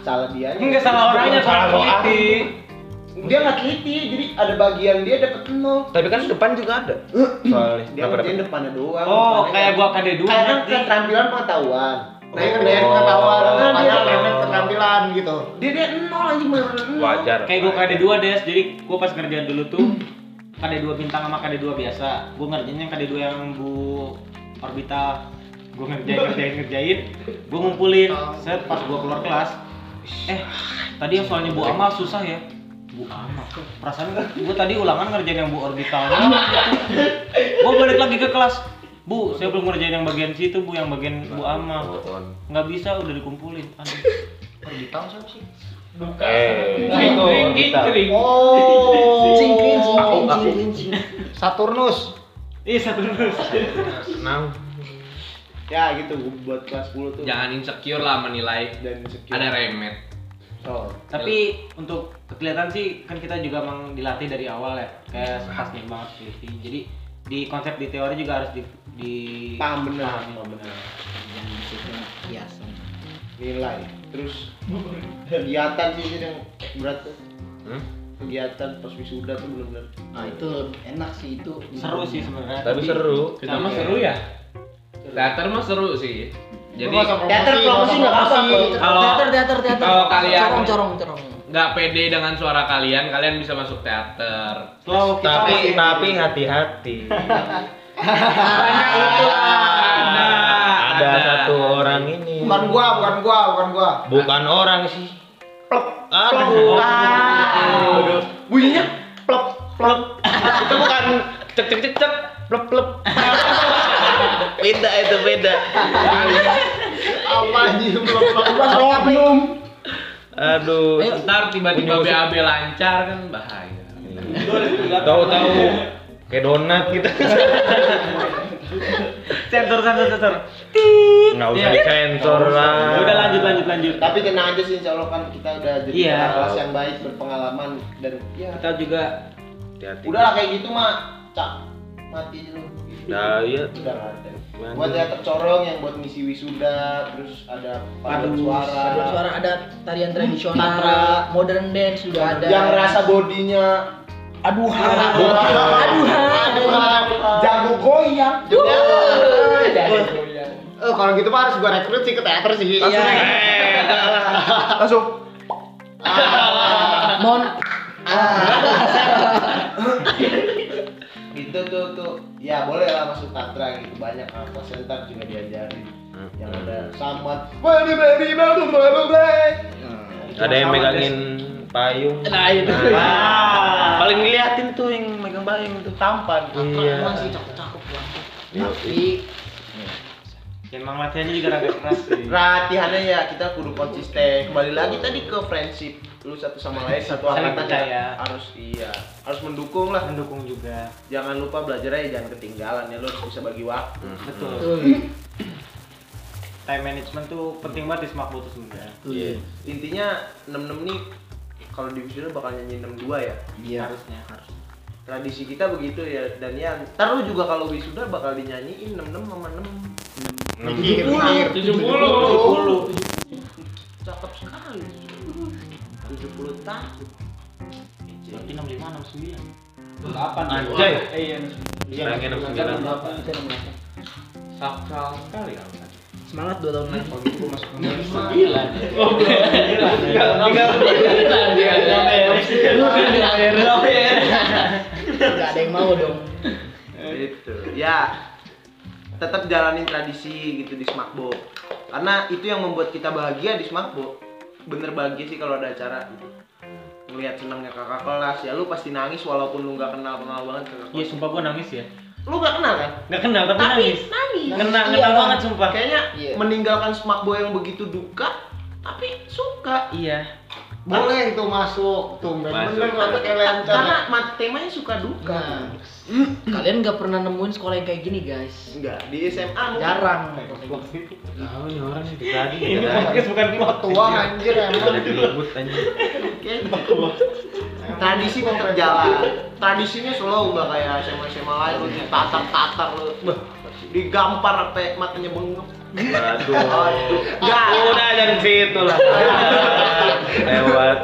salah dia. Enggak salah orangnya, salah politik. Dia nggak teliti, jadi ada bagian dia dapat nol. Tapi kan depan juga ada. Soalnya Dia ngerjain depannya Oh, doang. depannya kayak gua KD dua. Karena keterampilan pengetahuan. Nah, yang Oh. ngerjain pengetahuan, Oh. nah, dia ngerjain keterampilan gitu. dia dia nol anjing bener-bener nol. Wajar. Eh, Kayak gua KD dua des, jadi gua pas ngerjain dulu tuh KD dua bintang sama KD dua biasa. Gua ngerjainnya yang KD dua yang bu orbital. Gua ngerjain ngerjain ngerjain. Gua ngumpulin. Set pas gua keluar kelas. Eh, tadi yang soalnya bu Amal susah ya. Bu Amal. Perasaan gua, gua tadi ulangan ngerjain yang bu orbital. gua balik lagi ke kelas. Bu, saya belum ngerjain yang bagian situ, Bu, yang bagian Bu Amal. Nggak bisa, udah dikumpulin. Aduh. Orbital siapa sih? Eh, Kering, kering, kering. Oh. Cingkring, cingkring, Aku- cingkring, cingkring. Saturnus. Ih, Iya, satu terus. Nang. ya gitu gua buat kelas 10 tuh Jangan insecure lah menilai. dan insecure Ada remet. so Tapi untuk kelihatan sih kan kita juga emang dilatih dari awal ya. Kayak pas nih banget sih. Jadi di konsep di teori juga harus di, di paham bener paham bener Jangan musiknya hiasan. nilai terus kegiatan sih sih yang berat tuh Hmm? kegiatan pas wisuda tuh bener-bener Nah, itu enak sih itu. seru sih sebenarnya. Tapi seru. Kita mah seru ya. Teater mah seru sih. Jadi Teater promosi nggak apa-apa, promosi. Kalau- teater, teater, teater. kalau kalian- corong, corong, corong. nggak pede dengan suara kalian, kalian bisa masuk teater. Slow kita Tapi masih- tapi hati-hati. Ah. Banyak itu ah. ada, Nah, Ada satu orang ini. Bukan gua, bukan gua, bukan gua. Bukan orang sih. Aduh. Aduh. Bunyinya plop plop. Itu bukan cek cek cek cek plep plep. beda itu beda Apa anjing belum belum Aduh, ntar tiba-tiba BAB lancar kan bahaya. Tahu-tahu kayak donat gitu. Sensor, sensor, sensor. Enggak usah disensor Iya. lah. Udah lanjut, lanjut, lanjut. Tapi tenang aja sih, insya Allah kan kita udah jadi Iya. kakak kelas yang baik, berpengalaman dan ya. Kita juga Hati-hati. Udahlah kayak gitu mah, cak mati aja lu. Nah, iya. Udah nggak ada. Buat yang tercorong, yang buat misi wisuda, terus ada paduan Paduan suara, suara. suara ada tarian tradisional Tatra. modern dance juga ada yang rasa bodinya aduhan Aduhan. aduhan Jago goyang. Wuh, jago Eh kalau gitu mah harus gua rekrut sih ke teater sih. Iya. langsung Ah. mon gitu tuh tuh ya boleh lah masuk tatra gitu banyak apa sentar juga diajarin yang Hmm. ada samat beli beli beli beli beli Hmm. Ada yang megangin payung. nah itu Paling diliatin tuh yang megang payung tuh tampan. Iya. Masih cakep-cakep. Iya, tapi Ya, emang latihannya juga agak keras sih. latihannya ya kita kudu konsisten kembali lagi tadi ke friendship lu satu sama lain satu Saling angkatan percaya. ya. harus iya harus mendukung lah Mendukung juga. jangan lupa belajarnya ya jangan ketinggalan ya lu harus bisa bagi waktu Betul. tuh, Time management tuh penting banget di Smakbo tuh sebenarnya. tuh. intinya 66 nih kalau di Visual bakal nyanyi 62 ya Harusnya harus. tradisi kita begitu ya dan ya ntar lu juga kalau wisuda bakal dinyanyiin 66 sama 6 Mikir, Iya. mikir. 70. cakep sekali 70 tahun Berarti 65, 69. Anjay, Iya. Nangin 69. iya. sakral sekali kan. semangat dua tahun lagi Iya. nggak ada yang mau dong gitu ya tetap jalanin tradisi gitu di Smakbo karena itu yang membuat kita bahagia di Smakbo bener bahagia sih kalau ada acara ngelihat senangnya kakak kelas ya lu pasti nangis walaupun lu nggak kenal kenal banget kakak Iya kelas sumpah gua nangis ya. lu nggak kenal kan Nggak kenal tapi nangis. nangis Kena, Iya, kena Bang. banget sumpah. kayaknya Iya. meninggalkan Smakbo yang begitu duka tapi suka Iya. Boleh itu masuk. Tumben Masuk. bener mata kayak lencer. karena mat- temanya suka duka Nah, kalian nggak pernah nemuin sekolah yang kayak gini guys enggak di SMA mungkin. jarang Tahu nih orang itu tadi. Ini podcast bukan pot. Tua anjir emang. ribut anjing. tradisi tetap jalan tradisinya slow nggak kayak SMA SMA lain lu ditatar tatar lu Bah, digampar sampai matanya bengep Aduh. Nggak. Udah jangan situ lah. Lewat.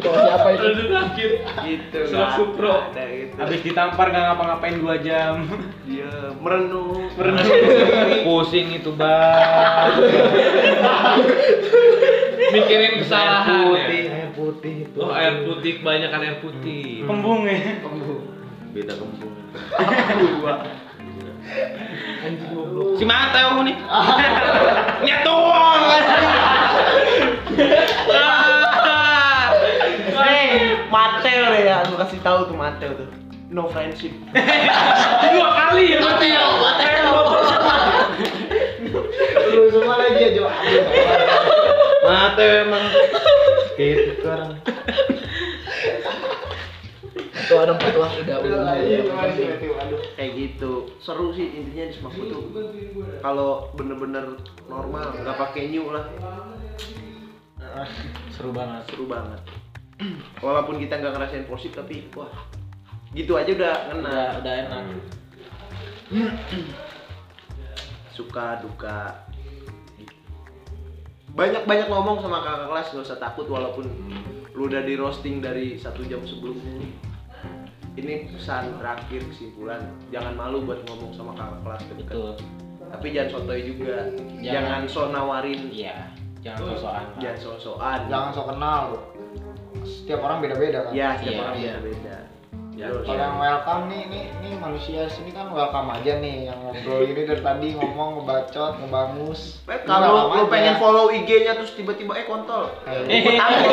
siapa itu Aduh sakit. gitu Selap supro. ada gitu Habis ditampar nggak ngapa-ngapain 2 jam. dia Iya, merenung Pusing itu bang. Mikirin kesalahan Putih, ya. air putih itu. Oh air putih, kebanyakan air putih. Hmm. Kembung ya. Beda kembung. Si mata kamu nih. eh Mateo deh ya aku kasih tahu tuh Mateo tuh no friendship Dua kali ya. Mateo. Lu semua lagi ya Jo. Mata emang. Gitu sekarang. ketua dong ketua udah udah kayak gitu seru sih intinya di Smakbo tuh kalau bener-bener normal nggak pakai new lah Seru banget. seru banget walaupun kita nggak ngerasain posisi tapi wah gitu aja udah ngena Udah, udah enak. suka duka banyak banyak ngomong sama kakak kelas nggak usah takut walaupun lu udah di roasting dari satu jam sebelumnya ini pesan terakhir kesimpulan jangan malu buat ngomong sama kakak kelas deket Betul. tapi jangan sotoy juga jangan, so nawarin Iya. Jangan sosokan. jangan so-soan Jangan sok kenal. Setiap orang beda-beda kan. ya setiap Iya, orang iya. beda Kalau yang welcome nih, nih, nih manusia sini kan welcome aja nih yang ngobrol ini dari tadi ngomong ngebacot, ngebangus. Eh, Ini kalau lu welcome aja. ya. pengen follow IG-nya terus tiba-tiba eh kontol. Eh. Ikut aku.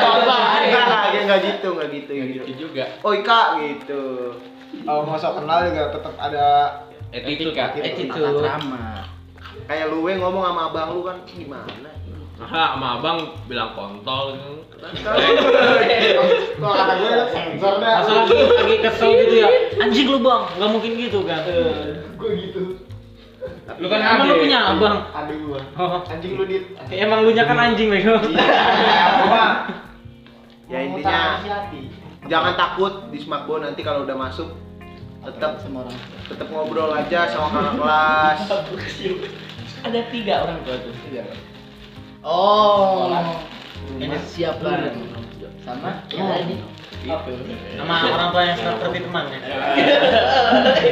Enggak lah, dia enggak gitu, enggak gitu. Kayak gitu. gitu juga. Oi kak gitu. kalau nggak sok kenal juga tetap ada Attitude. Etika, gitu. attitude. Ramah. Kayak lu we ngomong sama abang lu kan gimana? Masa sama abang bilang kontol gitu. kalau kata gue ada sensor dah Masa lagi, lagi kesel gitu ya. Anjing lu bang, nggak mungkin gitu kan. gue gitu Lu kan Emang lu adik. punya abang. aduh gue Oh. anjing lu dit Emang lu nya kan anjing bego. Apa? Ya, Mau intinya. tangan hati-hati. Jangan takut di Smakbo nanti kalau udah masuk tetap Semua orang. tetap ngobrol aja sama kakak kelas. Ada tiga orang tua tuh. Oh. Sekolah. Ini siap lah. Sama? Yang lagi. Sama orang tua yang seperti teman ya.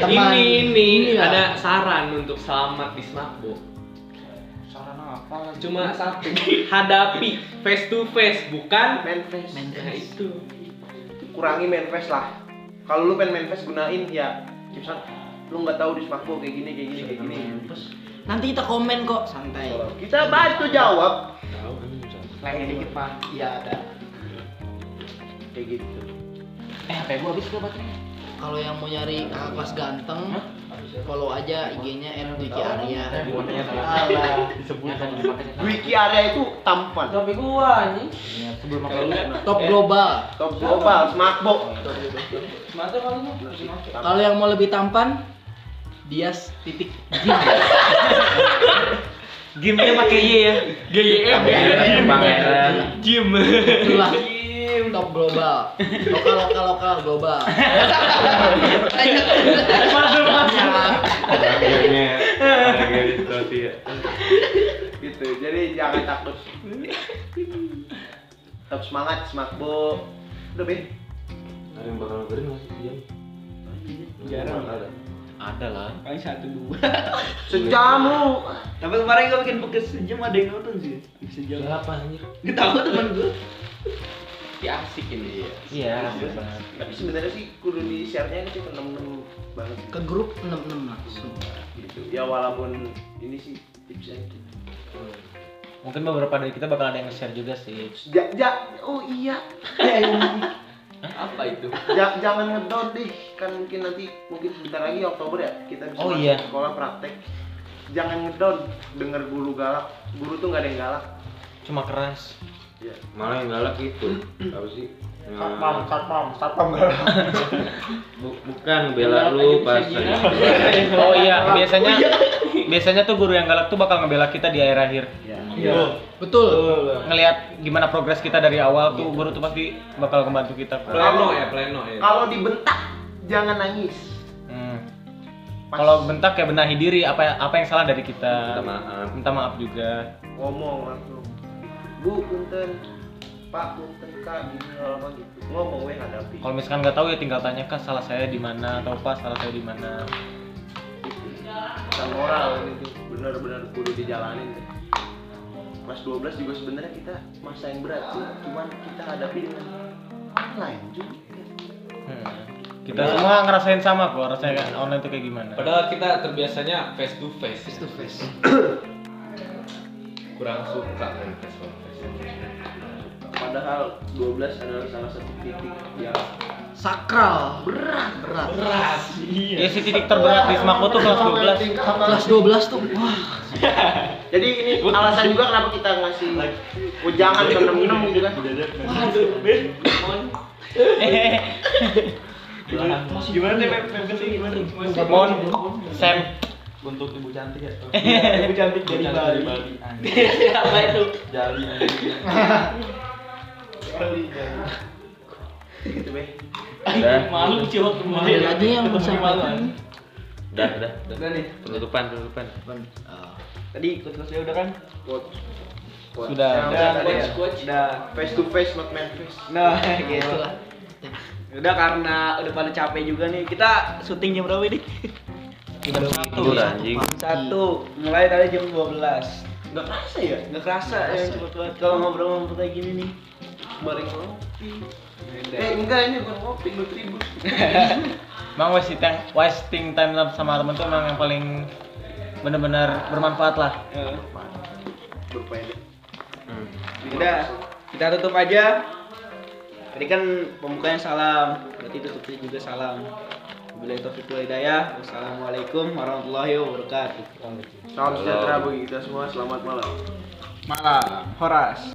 Teman. Ini ini Iya. ada saran untuk selamat di Smapbo. Saran apa? Cuma satu, hadapi face to face bukan Main face. Nah, itu. Kurangi main face lah. Kalau lu pengen main face gunain ya Gibson lu nggak tahu di Smakbo kayak gini kayak gini kayak gini. Nanti kita komen kok. Santai. Kita bantu jawab Lainnya dikit mah. Iya ada. kayak gitu. Eh, HP gua habis tuh baterainya. Kalau yang mau nyari kakak kelas ganteng, follow aja IG-nya RDK Arya. Bukannya salah. Alah. Disebut kan dipakai. Wiki area itu tampan. Tapi gua anjing. Sebelum makan lu. Top global. Top global Smakbo. Mata kalau lu. Kalau yang mau lebih tampan, Dias titik Game-nya pakai Y ya. GYM Jim. itulah top global. Lokal lokal lokal global. Masuk Salah. Akhirnya, akhirnya itu ya. gitu jadi jangan takut tetap semangat smakbo udah be Ada yang bakal dengerin nggak sih Jam? Jarang. Bakal ada. Ada lah. Paling satu dua. sejam lu Tapi kemarin gue bikin podcast sejam ada yang nonton sih. Sejam. Apa anjir? Gue tahu teman gue. Ya asik ini. Iya. tapi sebenarnya sih kudu di share nya sih ke temen temen banget Ke grup 66 langsung. gitu ya walaupun ini sih tips aja Mungkin beberapa dari kita bakal ada yang share juga sih. ja, ja- oh iya Apa itu? Ja- jangan ngedown deh kan mungkin nanti mungkin sebentar lagi Oktober ya kita bisa Oh, masuk iya. sekolah praktek jangan ngedown denger guru galak guru tuh nggak ada yang galak Cuma keras. ya Malah yang galak itu. Apa sih? Yang- Satpam, satpam, satpam galak. Bu- bukan Iya, bela gitu lu pas Oh iya, biasanya biasanya tuh guru yang galak tuh bakal ngebela kita di akhir-akhir. Betul. Ngelihat gimana progres kita dari awal tuh guru tuh pasti bakal membantu kita. Pleno ya, pleno ya. kalau dibentak jangan nangis Hmm. Kalau bentak ya benahi diri apa apa yang salah dari kita. Minta maaf. Minta maaf juga. ngomong langsung bu punten pak punten kak gini lama gitu ngomong gue hadapi Kalau misalkan nggak tahu ya tinggal tanya kak salah saya di mana atau pas salah saya di mana. kita moral gitu benar-benar kudu dijalanin deh. Mas 12 juga sebenarnya kita masa yang berat sih, cuman kita hadapi dengan online juga. Hmm. Kita semua ngerasain sama kok rasanya kan online tuh kayak gimana. Padahal kita terbiasanya face to face. Face to face. Kurang suka kan face to face. Padahal 12 adalah salah satu titik yang Sakral. Berat, berat. Ya si titik terberat di Smakbo tuh kelas 12. Kelas 12 tuh wah. jadi ini alasan juga kenapa kita ngasih ujangan ke 66 gitu kan. Gimana nih, Mem? Mem kesini gimana? Mon, Sam, Untuk ibu cantik ya. Ibu cantik dari Bali. apa itu? Jali. Jali. Gitu, Be. Malu cewek kemarin. Ada lagi yang bisa makan. Dah, dah, dah. Udah nih. Penutupan, penutupan. Tadi ikut kelasnya udah kan? Quotes. Quotes. Sudah. Yang Nah, Udah. tadi ya. Udah. Face to face not man face. Nah, gitu. Udah karena udah pada capek juga nih. Kita syuting jam berapa nih? Satu anjing. Satu. Mulai tadi jam 12. Enggak kerasa ya? Nggak kerasa ya cepet-cepet kalau ngobrol-ngobrol kayak gini nih. Bareng ngopi. Eh enggak ini bukan ngopi, nutribus. Eh, Emang wasting time, wasting time sama temen tuh emang yang paling bener-bener bermanfaat lah. Ya. Berpeda. Udah, kita tutup aja. Tadi kan pembukanya salam, berarti tutupnya juga salam. Bila taufiq wal hidayah. Wassalamualaikum warahmatullahi wabarakatuh. Salam sejahtera bagi kita semua. Selamat malam. Malam. Horas.